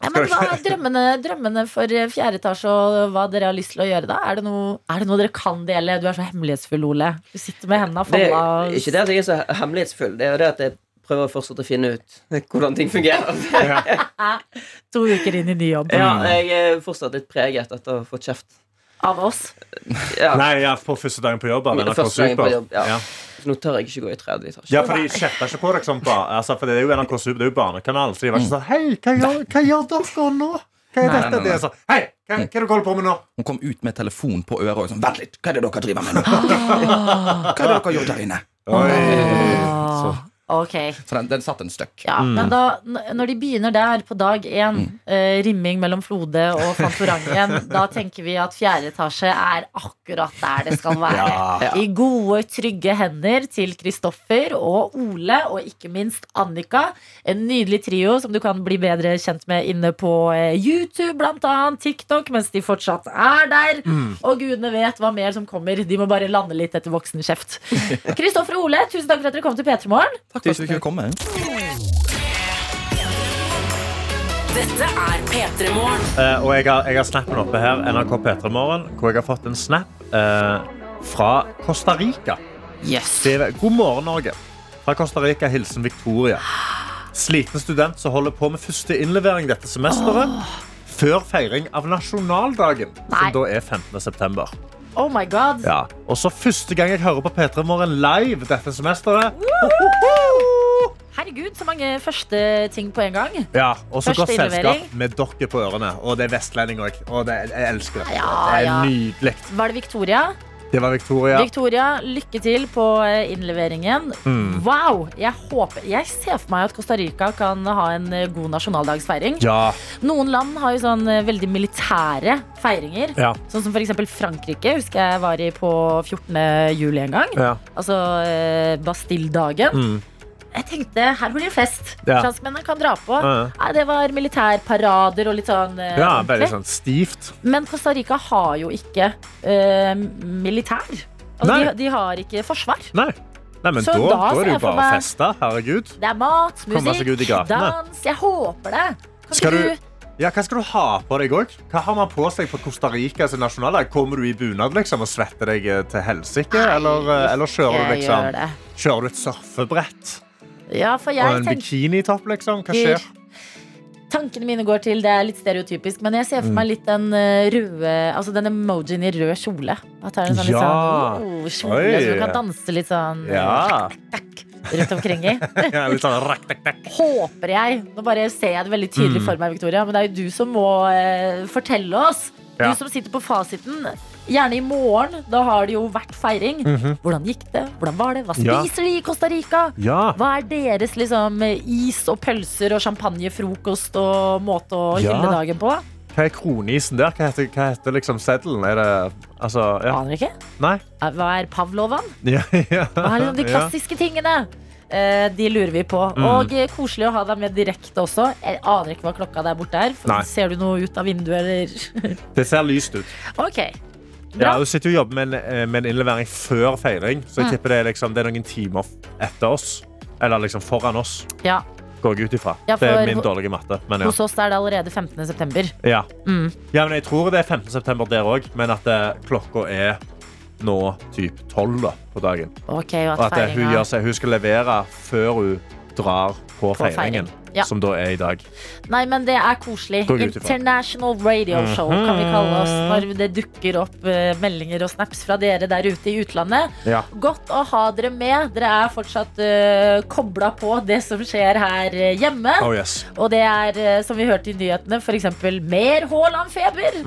S2: Ja, men hva er drømmene, drømmene for eh, fjerde etasje, og hva dere har lyst til å gjøre da? Er det noe, er det noe dere kan dele? Du er så hemmelighetsfull, Ole. Du sitter med hendene
S8: Det
S2: falla.
S8: er ikke det at jeg er så hemmelighetsfull. Det er jo det at jeg prøver fortsatt å finne ut hvordan ting fungerer. <laughs>
S2: To uker inn i ny jobb.
S3: Mm.
S8: Ja, jeg er fortsatt litt preget etter å ha fått kjeft.
S2: Av oss.
S8: Ja.
S3: Nei, ja, på første dagen på jobb. av NRK
S8: Første dagen på
S3: Super.
S8: jobb, ja.
S3: Ja.
S8: Så nå tør jeg ikke gå i tredje etasje.
S3: Ja, for de kjefter ikke på dere sånn. Ba. Altså, for det er jo NRK Super, det er jo barnekanalen. Så de var ikke sånn Hei, hva gjør, hva gjør dere nå? Hva er
S7: Nei,
S3: dette?
S7: nei,
S3: Det er sånn Hei, hva, hva er det dere holder på med nå?
S7: Hun kom ut med telefon på øret og sånn Vent litt, hva er det dere driver med nå? Hva er det dere har gjort der inne?
S3: Oi.
S2: Ah, ok.
S7: Så den, den satt en støkk.
S2: Ja, Men da, n- når de begynner der på dag én, eh, rimming mellom Flode og Fantorangen, da tenker vi at fjerde etasje er akkurat der det skal være. I gode, trygge hender til Kristoffer og Ole, og ikke minst Annika. En nydelig trio som du kan bli bedre kjent med inne på eh, YouTube, blant annet. TikTok, mens de fortsatt er der. Og gudene vet hva mer som kommer. De må bare lande litt etter voksenkjeft. Kristoffer og Ole, tusen takk for at dere kom til P3 Morgen.
S7: Takk for at du fikk komme.
S1: Dette er P3 Morgen.
S3: Eh, og jeg har, jeg har snappen oppe her, NRK P3 Morgen, hvor jeg har fått en snap eh, fra Costa Rica. Skriver, God morgen, Norge. Fra Costa Rica, hilsen Victoria. Sliten student som holder på med første innlevering dette semesteret. Før feiring av nasjonaldagen,
S2: Nei.
S3: som da er 15. september.
S2: Oh my god.
S3: Ja. Og så første gang jeg hører på P3 Morgen live dette semesteret.
S2: Herregud, så mange første ting på en gang.
S3: Ja, og så
S2: Første
S3: godt selskap
S2: innlevering.
S3: med dere på ørene. Og det er vestlending òg. Og det, jeg elsker det.
S2: Ja,
S3: det er
S2: ja.
S3: nydelig.
S2: Var det Victoria?
S3: Det var Victoria.
S2: Victoria, lykke til på eh, innleveringen.
S3: Mm.
S2: Wow! Jeg, håper, jeg ser for meg at Costa Rica kan ha en eh, god nasjonaldagsfeiring.
S3: Ja.
S2: Noen land har jo sånn eh, veldig militære feiringer.
S3: Ja.
S2: Sånn som f.eks. Frankrike, husker jeg var i på 14. juli en gang.
S3: Ja. Mm.
S2: Altså eh, Bastille-dagen. Jeg tenkte her blir det fest.
S3: Ja.
S2: Franskmennene kan dra på.
S3: Ja, ja.
S2: Nei, det var militærparader og litt sånn eh,
S3: ja
S2: ordentlig.
S3: veldig sånn stivt.
S2: Men Costa Rica har jo ikke eh, militær. Altså,
S3: Nei.
S2: de, de har ikke forsvar.
S3: Nei. Nei, men
S2: Så
S3: da,
S2: da ser
S3: da er det
S2: jeg
S3: jo
S2: for
S3: bare å
S2: meg-
S3: feste. Herregud.
S2: Det er mat,
S3: Komme seg ut i
S2: musikk,
S3: gatene.
S2: dans. Jeg håper det. Kan
S3: Skal
S2: ikke
S3: du- Ja, hva skal du ha på deg òg? Hva har man på seg på Costa Rica sin nasjonaldag? Kommer du i bunad liksom, og svetter deg eh, til helsike? Eller, eh, eller kjører, du,
S2: Jeg gjør
S3: liksom,
S2: det.
S3: kjører du et surfebrett
S2: Ja, for
S3: og
S2: jeg
S3: en
S2: tenker
S3: bikinitopp? Liksom? Hva skjer?
S2: Tankene mine går til Det er litt stereotypisk, men jeg ser
S3: Mm.
S2: for meg litt den eh, røde Altså den emojien i rød kjole. At det er en sånn litt
S3: Ja.
S2: sånn oh,
S3: Oi.
S2: kjole som du kan danse litt sånn eh, <laughs>
S3: Ja.
S2: rundt omkring
S3: <laughs>
S2: i.
S3: ja litt sånn rakk, rakk, rakk.
S2: håper jeg Nå bare ser jeg det veldig tydelig
S3: Mm.
S2: for meg, Victoria Men det er jo du som må eh, fortelle oss Du
S3: Ja.
S2: som sitter på fasiten Gjerne i morgen, da har det jo vært feiring Hvordan gikk det? Hvordan var det? Hva
S3: Mhm. Ja.
S2: spiser de i Costa Rica?
S3: Ja.
S2: Hva er deres liksom, is og pølser og champagnefrokost Og måte å
S3: Ja.
S2: hylle dagen på?
S3: Hva er kronisen der? Hva heter, hva heter liksom seddelen? Er det Altså, ja.
S2: Aner ikke
S3: Nei. <laughs>
S2: Eh, Hva er Pavlovan?
S3: Ja, ja.
S2: Hva er liksom de
S3: Ja. Mm.
S2: klassiske tingene? Eh, de lurer vi på. Og eh, koselig å ha deg med direkte også. Jeg aner ikke hva klokka der borte er.
S3: Nei.
S2: Ser du noe ut av vinduet, eller?
S3: Det ser lyst ut.
S2: Ok. Bra. Mm.
S3: Ja, Hun sitter jo og jobber med en, eh, med en innlevering før feiring, så jeg tipper det er, liksom, det er noen timer f- etter oss. Eller liksom foran oss.
S2: Ja.
S3: Går jeg ut ifra.
S2: Ja,
S3: det
S2: for
S3: er min
S2: ho-
S3: dårlige matte. Men ja.
S2: Hos oss er det allerede 15. september.
S3: Ja.
S2: Mm.
S3: ja, men jeg tror det er 15. september der òg, men at eh, klokka er nå typ 12 da, på dagen.
S2: Ok, og
S3: Og
S2: at
S3: at eh, hun,
S2: feiringa
S3: gjør seg, hun skal levere før hun drar på,
S2: feiring.
S3: feiringen,
S2: Ja.
S3: som da er i dag.
S2: Nei, men det er koselig.
S3: Går ut Mhm. ifra.
S2: International Radio Show kan vi kalle oss når det dukker opp eh, meldinger og snaps fra dere der ute i utlandet.
S3: Ja.
S2: Godt å ha dere med. Dere er fortsatt uh, kobla på det som skjer her eh, hjemme.
S3: Oh yes.
S2: Og det er, eh, som vi hørte i nyhetene, f.eks. mer Haaland-feber.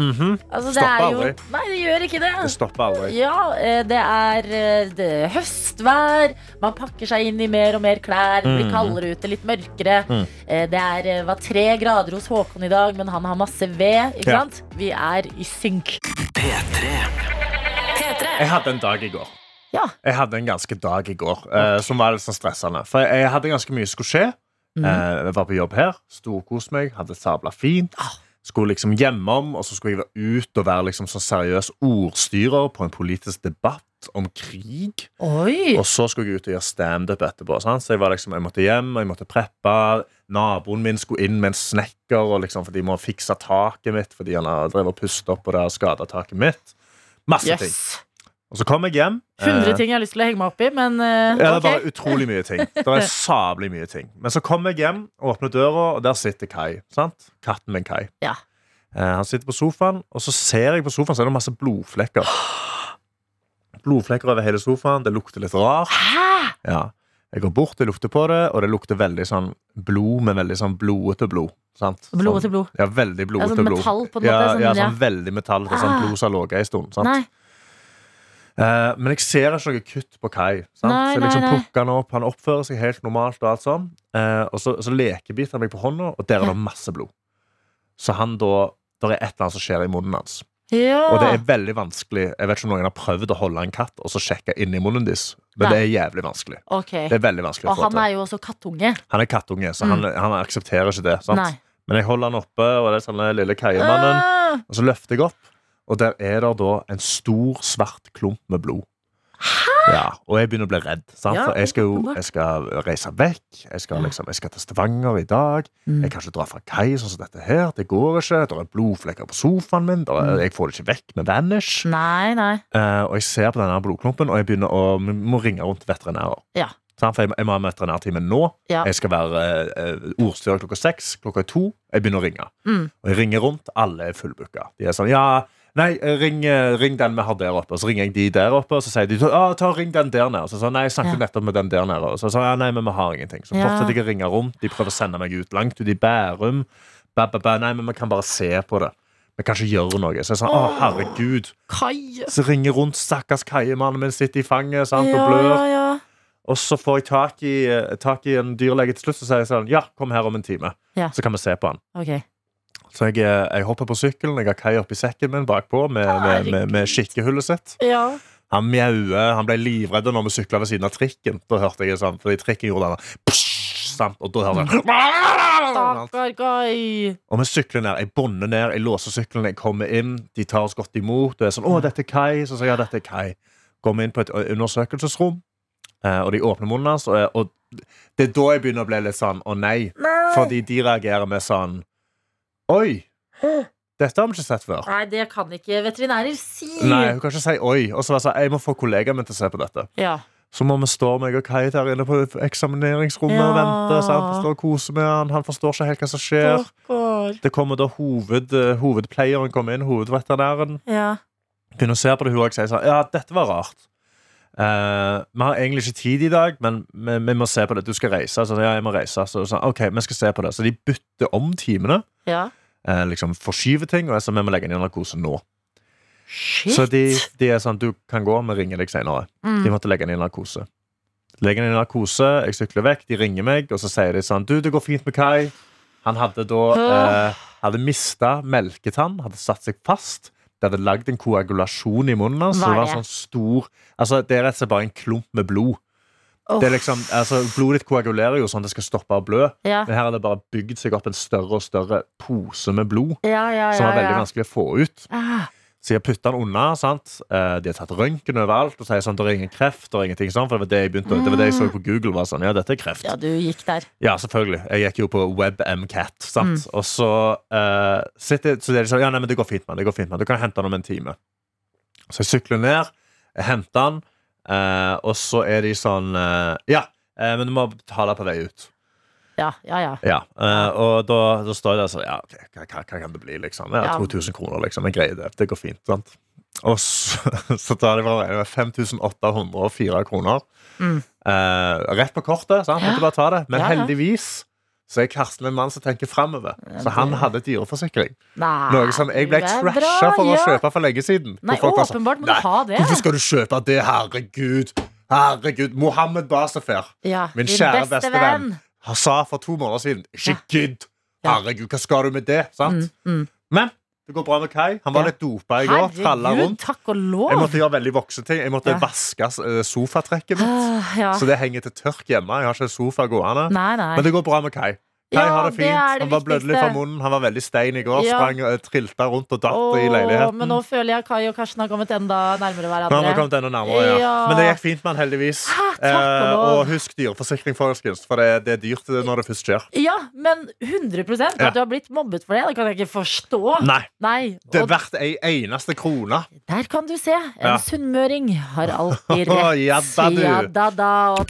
S2: altså, det
S3: Stopper
S2: er jo...
S3: Mhm. aldri.
S2: Nei, det gjør ikke det.
S3: Det stopper aldri.
S2: Ja, eh, det er eh, det er høstvær. Man pakker seg inn i mer og mer klær. Det
S3: Mm.
S2: blir kaldere ute, litt mørkere. Eh, Det er, eh, var tre grader hos Håkon i dag, men han har masse ved. Ikke
S3: Ja.
S2: sant? Vi er i synk.
S3: Jeg hadde en dag i går.
S2: Ja.
S3: Jeg hadde en ganske dag i går eh, som var litt sånn stressende. For jeg hadde ganske mye som skulle skje. Eh, jeg var på jobb her, storkoste meg, hadde det sabla fint. Skulle liksom hjemom, og så skulle jeg være ut og være liksom sånn seriøs ordstyrer på en politisk debatt om krig.
S2: Oi!
S3: Og så skulle jeg ut og gjøre standup etterpå. Sant? Så jeg, var liksom, jeg måtte hjem, og jeg måtte preppe. Naboen min skulle inn med en snekker, og liksom, for de må fikse taket mitt fordi han har drevet og pustet opp, og det har skada taket mitt. Masse ting.
S2: Yes.
S3: Og så kom jeg hjem.
S2: 100
S3: eh,
S2: ting jeg har lyst til å henge meg opp i, men eh,
S3: ja, det er
S2: ok.
S3: bare utrolig mye ting. Det
S2: <laughs>
S3: er sablig mye ting. Men så kommer jeg hjem og åpner døra, og der sitter Kai. sant? Katten min Kai.
S2: Ja.
S3: Eh, han sitter på sofaen, og så ser jeg på sofaen, så er det masse blodflekker. <gasps> Blodflekker over hele sofaen. Det lukter litt rart. Ja. Jeg går bort, jeg lukter på det, og det lukter veldig sånn blod, men veldig sånn blodete blod. sant?
S2: Blod
S3: Sånn-
S2: til blod.
S3: Ja, veldig blodete
S2: sånn
S3: blod.
S2: metall på en måte,
S3: Ja,
S2: sånn- ja.
S3: ja,
S2: Ah.
S3: sånn veldig metall. Det er sånn blod som har ligget en stund. sant?
S2: Nei.
S3: Eh, men jeg ser ikke noe kutt på Kai. Sant?
S2: Nei,
S3: så jeg liksom
S2: nei, nei.
S3: plukker han opp, Han oppfører seg helt normalt, og alt sånn Eh, Og så, så lekebiter han meg på hånda, og der er det masse blod. Så han da der er et eller annet som skjer i munnen hans.
S2: Ja.
S3: Og det er veldig vanskelig Jeg vet ikke om noen har prøvd å holde en katt og så sjekke inni munnen deres, men
S2: Nei.
S3: det er jævlig vanskelig.
S2: Ok.
S3: Det er veldig vanskelig å
S2: Og
S3: få
S2: han
S3: til.
S2: er jo også kattunge.
S3: Han er kattunge, så han, han aksepterer ikke det. Sant?
S2: Nei.
S3: Men jeg holder han oppe, og det er sånn den lille keiemannen.
S2: Ah,
S3: Og så løfter jeg opp, og der er det da en stor, svart klump med blod. Ja, og jeg begynner å bli redd. Sant?
S2: Ja,
S3: For jeg skal jo
S2: åpenbart.
S3: jeg skal reise vekk. Jeg skal, liksom, jeg skal til Stavanger i dag.
S2: Mm.
S3: Jeg kan ikke dra fra kai sånn som dette her. Det går ikke. Det er blodflekker på sofaen min. Der
S2: Mm.
S3: er, jeg får det ikke vekk med Vanish.
S2: Nei, nei.
S3: Eh, og jeg ser på denne blodklumpen, og jeg begynner å vi må ringe rundt veterinærer.
S2: Ja.
S3: Sant? For jeg, må- jeg må ha en veterinærtime nå.
S2: Ja.
S3: Jeg skal være eh, eh, ordstyrer klokka seks. Klokka er to. Jeg begynner å ringe.
S2: Mm.
S3: Og jeg ringer rundt. Alle er fullbooka. De er sånn Ja, nei, eh, ring, eh, ring den vi har der oppe. Og så ringer jeg de der oppe, og så sier de Ja, ta og ring den der nede. Og så sånn, Nei, jeg snakket
S2: Ja.
S3: nettopp med den der nede. Og så sånn, ja, nei, men vi har ingenting. Så
S2: Ja.
S3: fortsetter jeg å ringe rundt. De prøver å sende meg ut langt ut i Bærum. Ba, ba, ba. Nei, men vi kan bare se på det. Vi kan ikke gjøre noe. Så jeg sånn, å, herregud.
S2: Kai.
S3: Så ringer rundt stakkars kaiemannen min, sitter i fanget sant,
S2: Ja,
S3: og blør.
S2: ja, ja.
S3: Og så får jeg tak i, eh, tak i en dyrlege til slutt og sier jeg sånn Ja, kom her om en time,
S2: Ja.
S3: så kan vi se på han.
S2: Ok.
S3: Så jeg, eh, jeg hopper på sykkelen, jeg har Kai oppi sekken min bakpå med, med, med, med skikkehullet sitt.
S2: Ja.
S3: Han mjauer, han ble livredd når vi sykla ved siden av trikken. Da hørte jeg sånn, fordi trikken gjorde denne psh, sant, Og da hørte jeg
S2: Stakkar Kai.
S3: Og vi sykler ned, jeg bonder ned, jeg låser sykkelen, jeg kommer inn, de tar oss godt imot. Og jeg er sånn, å, dette er Kai. Så sier jeg, ja, dette er Kai. Går vi inn på et undersøkelsesrom, eh, og de åpner munnen hans, og, og det er da jeg begynner å bli litt sånn, å nei. Fordi de reagerer med sånn, oi, dette har vi ikke sett før.
S2: Nei, det kan ikke veterinærer si.
S3: Nei, hun kan ikke si oi. Og så var jeg sånn, jeg må få kollegaen min til å se på dette.
S2: Ja.
S3: Så må vi stå meg og Kai der inne på eksamineringsrommet
S2: Ja.
S3: og vente. Så han står og koser med han, han forstår ikke helt hva som skjer.
S2: Stakkar.
S3: Det kommer da hoved, eh, hovedplayeren kommer inn, hovedveterinæren.
S2: Ja.
S3: Begynner å se på det, hun også sier sånn Ja, dette var rart. Eh, vi har egentlig ikke tid i dag, men vi, vi må se på det. Du skal reise. Så, ja, jeg må reise. Så, sånn, ok, vi skal se på det. Så de bytter om timene.
S2: ja.
S3: eh, liksom Forskyver ting. Og jeg sa vi må legge ned narkose nå.
S2: Shit.
S3: Så de, de er sånn Du kan gå, vi ringer deg senere.
S2: Mm.
S3: De måtte legge ned narkose. Legger ned narkose, jeg sykler vekk, de ringer meg, og så sier de sånn Du, det går fint med Kai. Han hadde da eh, Hadde mista melketann, hadde satt seg fast. Det hadde lagd en koagulasjon i munnen hans. så
S2: Hva er
S3: Det var
S2: det?
S3: en sånn stor Altså, det er rett og slett bare en klump med blod. Det er liksom, altså, blodet ditt koagulerer jo sånn at det skal stoppe å blø.
S2: Ja.
S3: Men her har det bare bygd seg opp en større og større pose med blod
S2: Ja, ja, ja.
S3: som var veldig
S2: ja.
S3: vanskelig å få ut.
S2: Ah,
S3: Så jeg har puttet den unna. sant? Eh, De har tatt røntgen overalt og sier sånn, det er ingen kreft. og ingenting sånn, For det var det jeg begynte, å- det var det jeg så på Google. var sånn, Ja, dette er kreft.
S2: Ja, du gikk der.
S3: Ja, selvfølgelig. Jeg gikk jo på WebMCAT. sant? Og så eh, sitter, så det er sånn, ja, nei, men det går fint, mann. det går fint, mann. Du kan hente den om en time. Så jeg sykler ned, jeg henter den, eh, og så er de sånn eh, Ja, eh, men du må betale på vei ut.
S2: Ja, ja, ja.
S3: Ja, eh, Og da, da står jeg der sånn Ja, ok, hva, hva, hva kan det bli, liksom? Ja,
S2: Ja.
S3: 2000 kroner, liksom. Jeg greier det. Det går fint. sant? Og så, <laughs> så tar de fra meg det var 5804 kroner.
S2: Mm.
S3: Eh, rett på kortet. sant? Måtte bare ta det. Men
S2: Ja, ja.
S3: heldigvis så er Karsten en mann som tenker framover. Så han hadde dyreforsikring.
S2: Nei,
S3: Noe som sånn, jeg ble
S2: det er
S3: trasha
S2: bra,
S3: for å
S2: ja.
S3: kjøpe for lenge siden.
S2: Nei,
S3: Hvor folk var sånn,
S2: åpenbart må du
S3: «Nei,
S2: ha det.
S3: Hvorfor skal du kjøpe det? Herregud. Herregud. Mohammed Basefer.
S2: Ja,
S3: Min
S2: din
S3: kjære
S2: beste
S3: beste
S2: venn.
S3: venn han sa for to måneder siden Ikke gidd!
S2: Ja. Mm,
S3: Herregud, hva skal du med det? Sant? Men det går bra med Kai. Han var
S2: Ja.
S3: litt dopa i går. Tralla
S2: Herregud,
S3: rundt.
S2: takk og
S3: Jeg
S2: lov!
S3: måtte gjøre veldig voksne ting. Jeg måtte
S2: Ja.
S3: vaske eh, sofatrekket mitt.
S2: Ah, ja.
S3: Så det henger til tørk hjemme. Jeg har ikke sofa gående.
S2: Nei, nei.
S3: Men det går bra med Kai. Kai
S2: Ja,
S3: har det
S2: det
S3: fint.
S2: er det
S3: han var blødde litt fra
S2: viktigste.
S3: munnen. Han var veldig stein i går.
S2: Ja.
S3: Sprang, eh, trilta rundt og datt
S2: Åh,
S3: i leiligheten.
S2: Men nå føler jeg Kai og Karsten har kommet enda nærmere
S3: Nå har vi
S2: hverandre.
S3: kommet enda nærmere, ja.
S2: Ja.
S3: Men det gikk fint med han, heldigvis. Eh,
S2: Ah, takk og lov.
S3: og husk dyreforsikring, folkens, for det, det er dyrt eh, når det først skjer.
S2: Ja, men 100 at
S3: Ja.
S2: du har blitt mobbet for det, det kan jeg ikke forstå.
S3: Nei.
S2: Nei,
S3: Det er
S2: Og
S3: verdt ei eneste krone.
S2: der kan du se. En
S3: Ja.
S2: sunnmøring har alltid
S3: Å,
S2: rett.
S3: ja da, du.
S2: Ja da, da. Og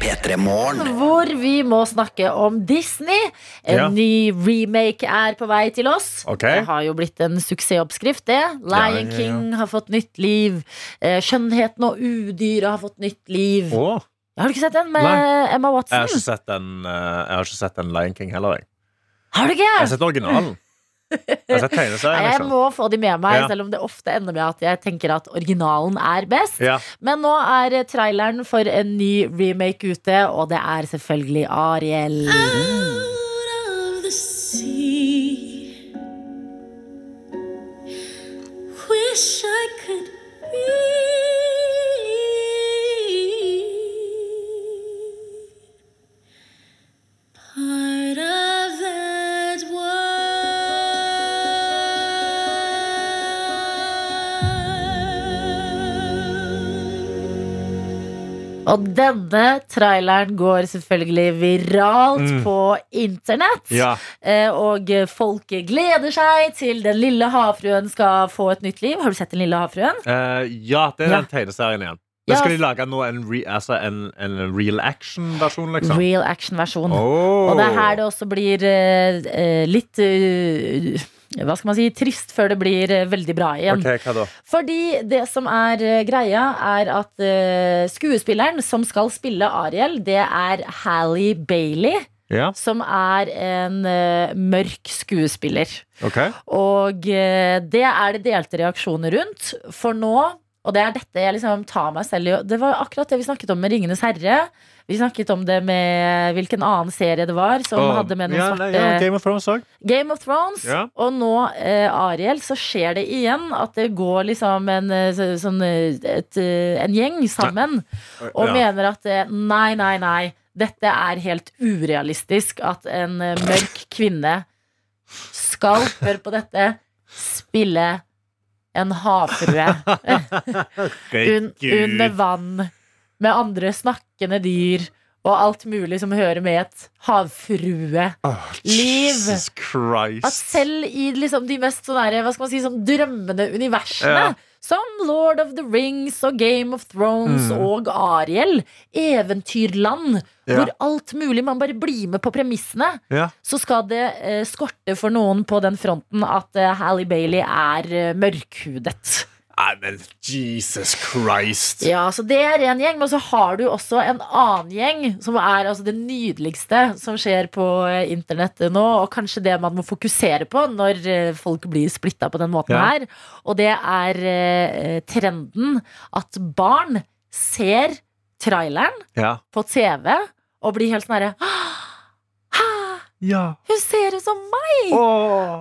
S5: P3 Morgen.
S2: Hvor vi må snakke om Disney. En
S3: Ja.
S2: ny remake er på vei til oss.
S3: Ok.
S2: Det har jo blitt en suksessoppskrift, det. Lion
S3: ja, ja.
S2: King har fått nytt liv. Eh, Skjønnheten og udyret har fått nytt liv.
S3: Åh,
S2: Har du ikke sett den med
S3: Nei.
S2: Emma
S3: jeg, har ikke
S2: Watson?
S3: sett den, eh, jeg har ikke sett den Lion King heller. Jeg,
S2: Har du ikke?
S3: jeg har sett originalen. Jeg har sett tegneserien.
S2: Nei, jeg
S3: Liksom.
S2: må få de med meg,
S3: Ja.
S2: selv om det ofte ender med at jeg tenker at originalen er best.
S3: Ja.
S2: Men nå er traileren for en ny remake ute, og det er selvfølgelig Ariel. Og denne traileren går selvfølgelig viralt på internett.
S3: Mm. Ja.
S2: Eh, Og folk gleder seg til Den lille havfruen skal få et nytt liv. Har du sett Den lille havfruen?
S3: Eh, ja, det er
S2: Ja.
S3: den tegneserien igjen.
S2: Ja.
S3: Men skal de lage nå en, re, altså en, en real action-versjon, liksom?
S2: Real action-versjon.
S3: Åh.
S2: Og det er her det også blir eh, eh, litt eh, Hva skal man si? Trist før det blir eh, veldig bra igjen.
S3: Ok, hva da?
S2: Fordi det som er eh, greia, er at eh, skuespilleren som skal spille Ariel, det er Hallie Bailey,
S3: Ja,
S2: som er en eh, mørk skuespiller.
S3: ok.
S2: Og eh, det er det delte reaksjoner rundt. For nå, og det er dette jeg liksom tar meg selv i å- Det var akkurat det vi snakket om med 'Ringenes herre'. Vi snakket om det med hvilken annen serie det var som
S3: Åh,
S2: hadde med noen
S3: ja, nei,
S2: svarte
S3: ja, Game of Thrones òg.
S2: Game of Thrones.
S3: Ja.
S2: Og nå, eh, Ariel, så skjer det igjen at det går liksom en, eh, så- sånn, eh, et, eh, en gjeng sammen og
S3: Ja.
S2: mener at eh, nei, nei, nei. Dette er helt urealistisk at en eh, mørk kvinne skal, hør på dette, spille en havfrue un under vann med andre snakkende dyr og alt mulig som hører med et havfrue.
S3: Åh,
S2: liv.
S3: Jesus
S2: At
S3: Christ.
S2: selv i liksom de mest sånn der, hva skal man si, sånn drømmende universene,
S3: Ja.
S2: som Lord of the Rings og Game of Thrones og Ariel, eventyrland,
S3: Mm. Ja.
S2: hvor alt mulig man bare blir med på premissene,
S3: Ja.
S2: så skal det eh, skorte for noen på den fronten at eh, Hallie Bailey er eh, mørkhudet.
S3: Nei, men Jesus Christ.
S2: Ja, så det er en gjeng, men så har du også en annen gjeng, som er altså det nydeligste som skjer på eh, internettet nå, og kanskje det man må fokusere på når eh, folk blir splitta på den måten
S3: Ja.
S2: her. Og det er eh, trenden at barn ser traileren
S3: Ja.
S2: på TV og blir helt sånn herre «Ah, ah,
S3: ja.
S2: Hun ser ut som meg!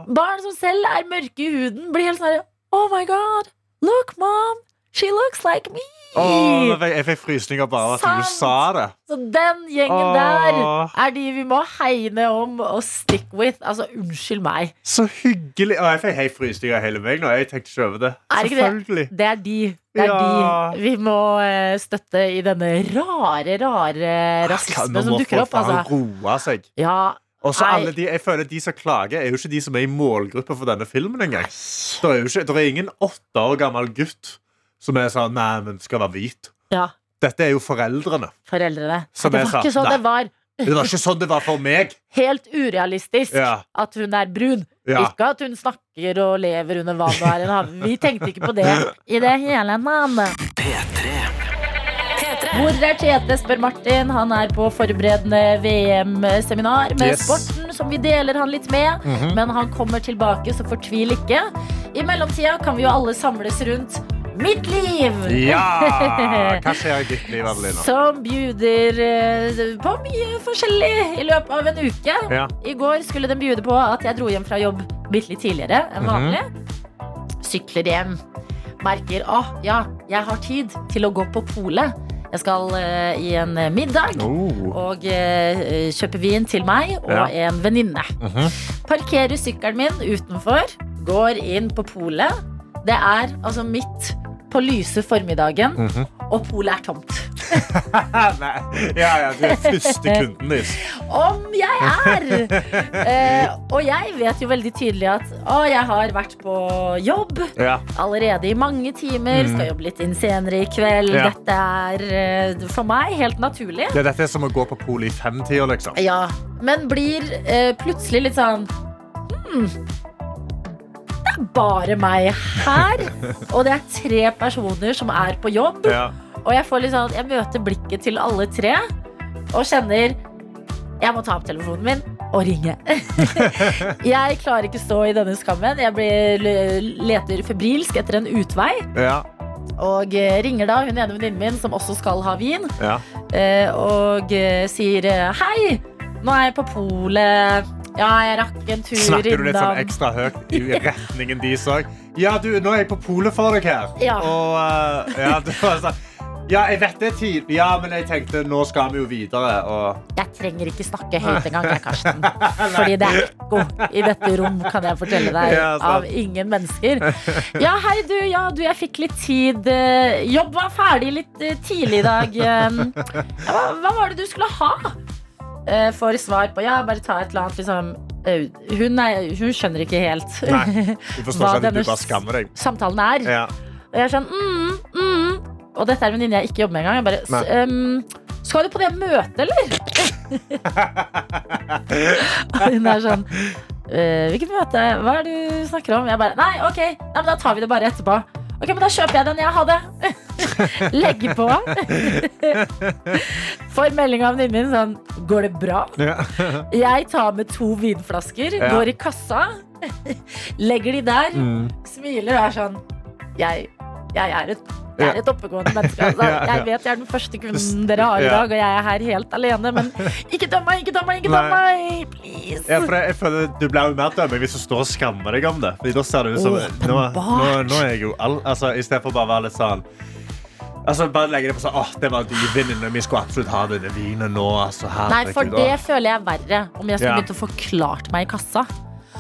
S2: Barn som selv er mørke i huden, blir helt sånn herre Oh my god! Look, mom! She looks like me!
S3: Åh, nå fikk- jeg fikk frysninger bare av at du
S2: Sant.
S3: sa det.
S2: Så den gjengen
S3: Åh.
S2: der er de vi må hegne om og stick with. Altså, unnskyld meg.
S3: Så hyggelig. Åh, jeg fikk helt frysninger i hele meg nå. Jeg tenkte ikke over det.
S2: Er ikke
S3: Selvfølgelig.
S2: Det er de. Det er
S3: Ja.
S2: de vi må eh, støtte i denne rare, rare
S3: Ah, Nå
S2: rasismen
S3: må
S2: som dukker
S3: folk
S2: opp.
S3: faen
S2: Altså.
S3: roe seg.
S2: Ja,
S3: Og så
S2: Nei.
S3: alle de, jeg føler de som klager, er jo ikke de som er i målgruppa for denne filmen engang. Det er jo ikke, der er ingen åtte år gammel gutt som er sånn Nei, men skal være hvit.
S2: ja,
S3: Dette er jo foreldrene.
S2: foreldrene.
S3: Som
S2: det
S3: jeg
S2: var
S3: sa,
S2: ikke sånn
S3: nei.
S2: det var.
S3: Det var ikke sånn det var for meg.
S2: Helt urealistisk
S3: Ja.
S2: at hun er brun.
S3: Ja.
S2: Ikke at hun snakker og lever under vann og er en hav. Vi tenkte ikke på det i det hele tatt.
S1: P3.
S2: Hvor er Tete, spør Martin. Han er på forberedende VM-seminar med
S3: Yes.
S2: sporten, som vi deler han litt med. Men han kommer tilbake, så fortvil ikke. I mellomtida kan vi jo alle samles rundt Mitt liv! <laughs>
S3: Ja! Hva skjer i ditt liv, Adelina?
S2: Som bjuder eh, på mye forskjellig i løpet av en uke.
S3: Ja.
S2: I går skulle den bjude på at jeg dro hjem fra jobb bitte litt tidligere
S3: Mhm.
S2: enn vanlig. Sykler hjem. Merker at ah, ja, jeg har tid til å gå på polet. Jeg skal eh, i en middag
S3: Oh.
S2: og eh, kjøpe vin til meg og
S3: Ja.
S2: en venninne.
S3: Mhm.
S2: Parkerer sykkelen min utenfor, går inn på polet. Det er altså midt på lyse formiddagen,
S3: Mhm.
S2: og polet er tomt.
S3: Nei. Ja, ja, du er
S2: <laughs>
S3: første kunden din.
S2: Om jeg er! Eh, og jeg vet jo veldig tydelig at å, jeg har vært på jobb
S3: Ja.
S2: allerede i mange timer, skal jobbe litt inn senere i kveld.
S3: Ja.
S2: Dette er eh, for meg helt naturlig.
S3: Ja, dette er som å gå på polet i femtida, liksom.
S2: Ja, men blir eh, plutselig litt sånn hmm, Det er bare meg her, og det er tre personer som er på jobb.
S3: Ja.
S2: Og jeg, får litt sånn, jeg møter blikket til alle tre og kjenner jeg må ta opp telefonen min og
S3: <laughs>
S2: ringe. jeg klarer ikke stå i denne skammen. Jeg blir, leter febrilsk etter en utvei
S3: Ja.
S2: og eh, ringer da hun ene venninnen min som også skal ha vin.
S3: Ja.
S2: Eh, og eh, sier eh, hei, nå er jeg på polet. Ja, jeg rakk en tur
S3: Snakker du litt sånn
S2: innom.
S3: ekstra høyt i retningen de så? Ja, du, nå er jeg på polet for deg her.
S2: Ja.
S3: Og eh, ja, det var sånn Ja, jeg vet det er tid. Ja, men jeg tenkte nå skal vi jo videre. Og
S2: Jeg trenger ikke snakke høyt engang, jeg, Karsten.
S3: <laughs>
S2: Fordi det er ekko i dette rom, kan jeg fortelle deg.
S3: Ja, sant.
S2: Av ingen mennesker. Ja, hei du, ja du, jeg fikk litt tid. eh, Jobb var ferdig litt eh, tidlig i dag. Eh, Hva, hva var det du skulle ha? Eh, Får svar på ja, bare ta et eller annet, liksom. eh, Hun, er, hun skjønner ikke helt
S3: Nei. du
S2: Hva
S3: forstår ikke sånn at
S2: denne
S3: du bare skammer deg.
S2: <laughs> samtalen er.
S3: Ja.
S2: Og jeg er sånn mm, mm. Og dette er en venninne jeg ikke jobber med engang. Jeg bare, s- ehm, skal du på det møtet, eller? og hun er sånn «Eh, Hvilket møte? Hva er det du snakker om? Jeg bare Nei, ok, Nei, men da tar vi det bare etterpå. Ok, men Da kjøper jeg den. Jeg har det. <laughs> Legger på. Får melding av venninnen min sånn Går det bra?
S3: Ja.
S2: Jeg tar med to vinflasker,
S3: Ja.
S2: går i kassa, legger de der,
S3: <laughs> Mm.
S2: smiler og er sånn Jeg, jeg er et jeg er
S3: Ja.
S2: et oppegående menneske. Altså,
S3: <laughs> Ja, ja.
S2: jeg vet jeg er den første kunden dere har i
S3: Ja.
S2: dag, og jeg er her helt alene,
S3: <laughs>
S2: men ikke døm meg, ikke døm meg, ikke døm
S3: Nei.
S2: meg! Please!
S3: Ja, for det- jeg føler Du blir jo mer dømming hvis du står og skammer deg om det. Fordi da ser det ut som nå, nå, nå er jeg jo all, altså, I stedet for bare å være litt sånn Altså, bare legge det på sånn Åh, det var de vinene Vi skulle absolutt ha denne vinen nå. Altså,
S2: Nei, for
S3: herregud,
S2: det
S3: da.»
S2: føler jeg er verre, om jeg skulle
S3: Ja.
S2: begynt å forklart meg i kassa.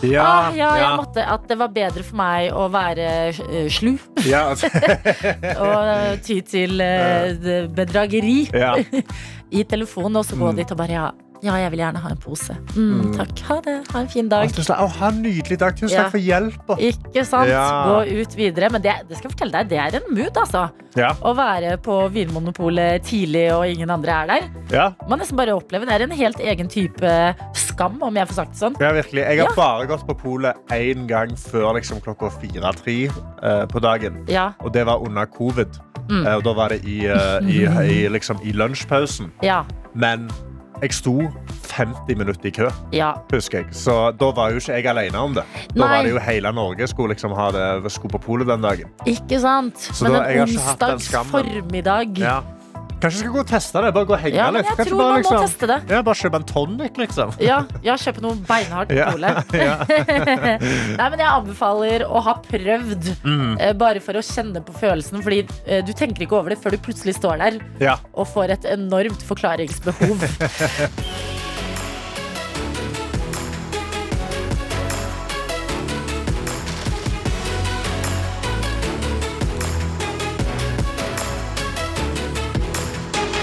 S3: ja,
S2: ah, ja, jeg
S3: ja,
S2: måtte At det var bedre for meg å være eh,
S3: <laughs>
S2: slu
S3: ja,
S2: <laughs>
S3: altså,
S2: og eh, ty til eh, bedrageri.
S3: ja.
S2: <laughs>
S3: Mm.
S2: i telefonen, og så gå dit og bare ja, ja, jeg vil gjerne ha en pose. Mm, takk, ha det, ha en fin dag.
S3: Å, tusen takk. Å, ha en nydelig dag. Tusen
S2: Ja.
S3: takk for hjelpa.
S2: Ikke sant?
S3: Ja.
S2: Gå ut videre. Men det, det skal jeg fortelle deg, det er en mood, altså.
S3: Ja.
S2: Å være på Vinmonopolet tidlig og ingen andre er der.
S3: Ja.
S2: Man nesten bare opplever det er en helt egen type skam, om jeg får sagt det sånn.
S3: Ja, virkelig. Jeg har
S2: Ja.
S3: bare gått på polet én gang før liksom, klokka fire-tre eh, på dagen.
S2: Ja,
S3: Og det var under covid.
S2: Mm.
S3: Eh, og da var det i, eh,
S2: <laughs>
S3: i, i, liksom, i lunsjpausen.
S2: ja,
S3: Men jeg sto 50 minutter i kø,
S2: ja.
S3: husker jeg. Så da var jo ikke jeg alene om det. Da
S2: Nei.
S3: var det jo hele Norge skulle liksom ha det skulle på polet den dagen.
S2: Ikke sant?
S3: Så
S2: Men
S3: da- jeg
S2: en
S3: har ikke hatt den
S2: onsdags
S3: skammen.
S2: formiddag
S3: Ja. Kanskje jeg skal gå og teste det? Bare gå og henge
S2: Ja, men
S3: litt.
S2: jeg
S3: Kanskje
S2: tror
S3: bare,
S2: man må
S3: liksom,
S2: teste det.
S3: Ja, bare kjøpe en tonic, liksom.
S2: Ja, ja kjøp noe beinhardt
S3: <laughs> Ja,
S2: pole. <laughs> Nei, men jeg anbefaler å ha prøvd,
S3: Mm.
S2: eh, bare for å kjenne på følelsen. Fordi eh, du tenker ikke over det før du plutselig står der
S3: Ja.
S2: og får et enormt forklaringsbehov.
S1: P3 Morgen.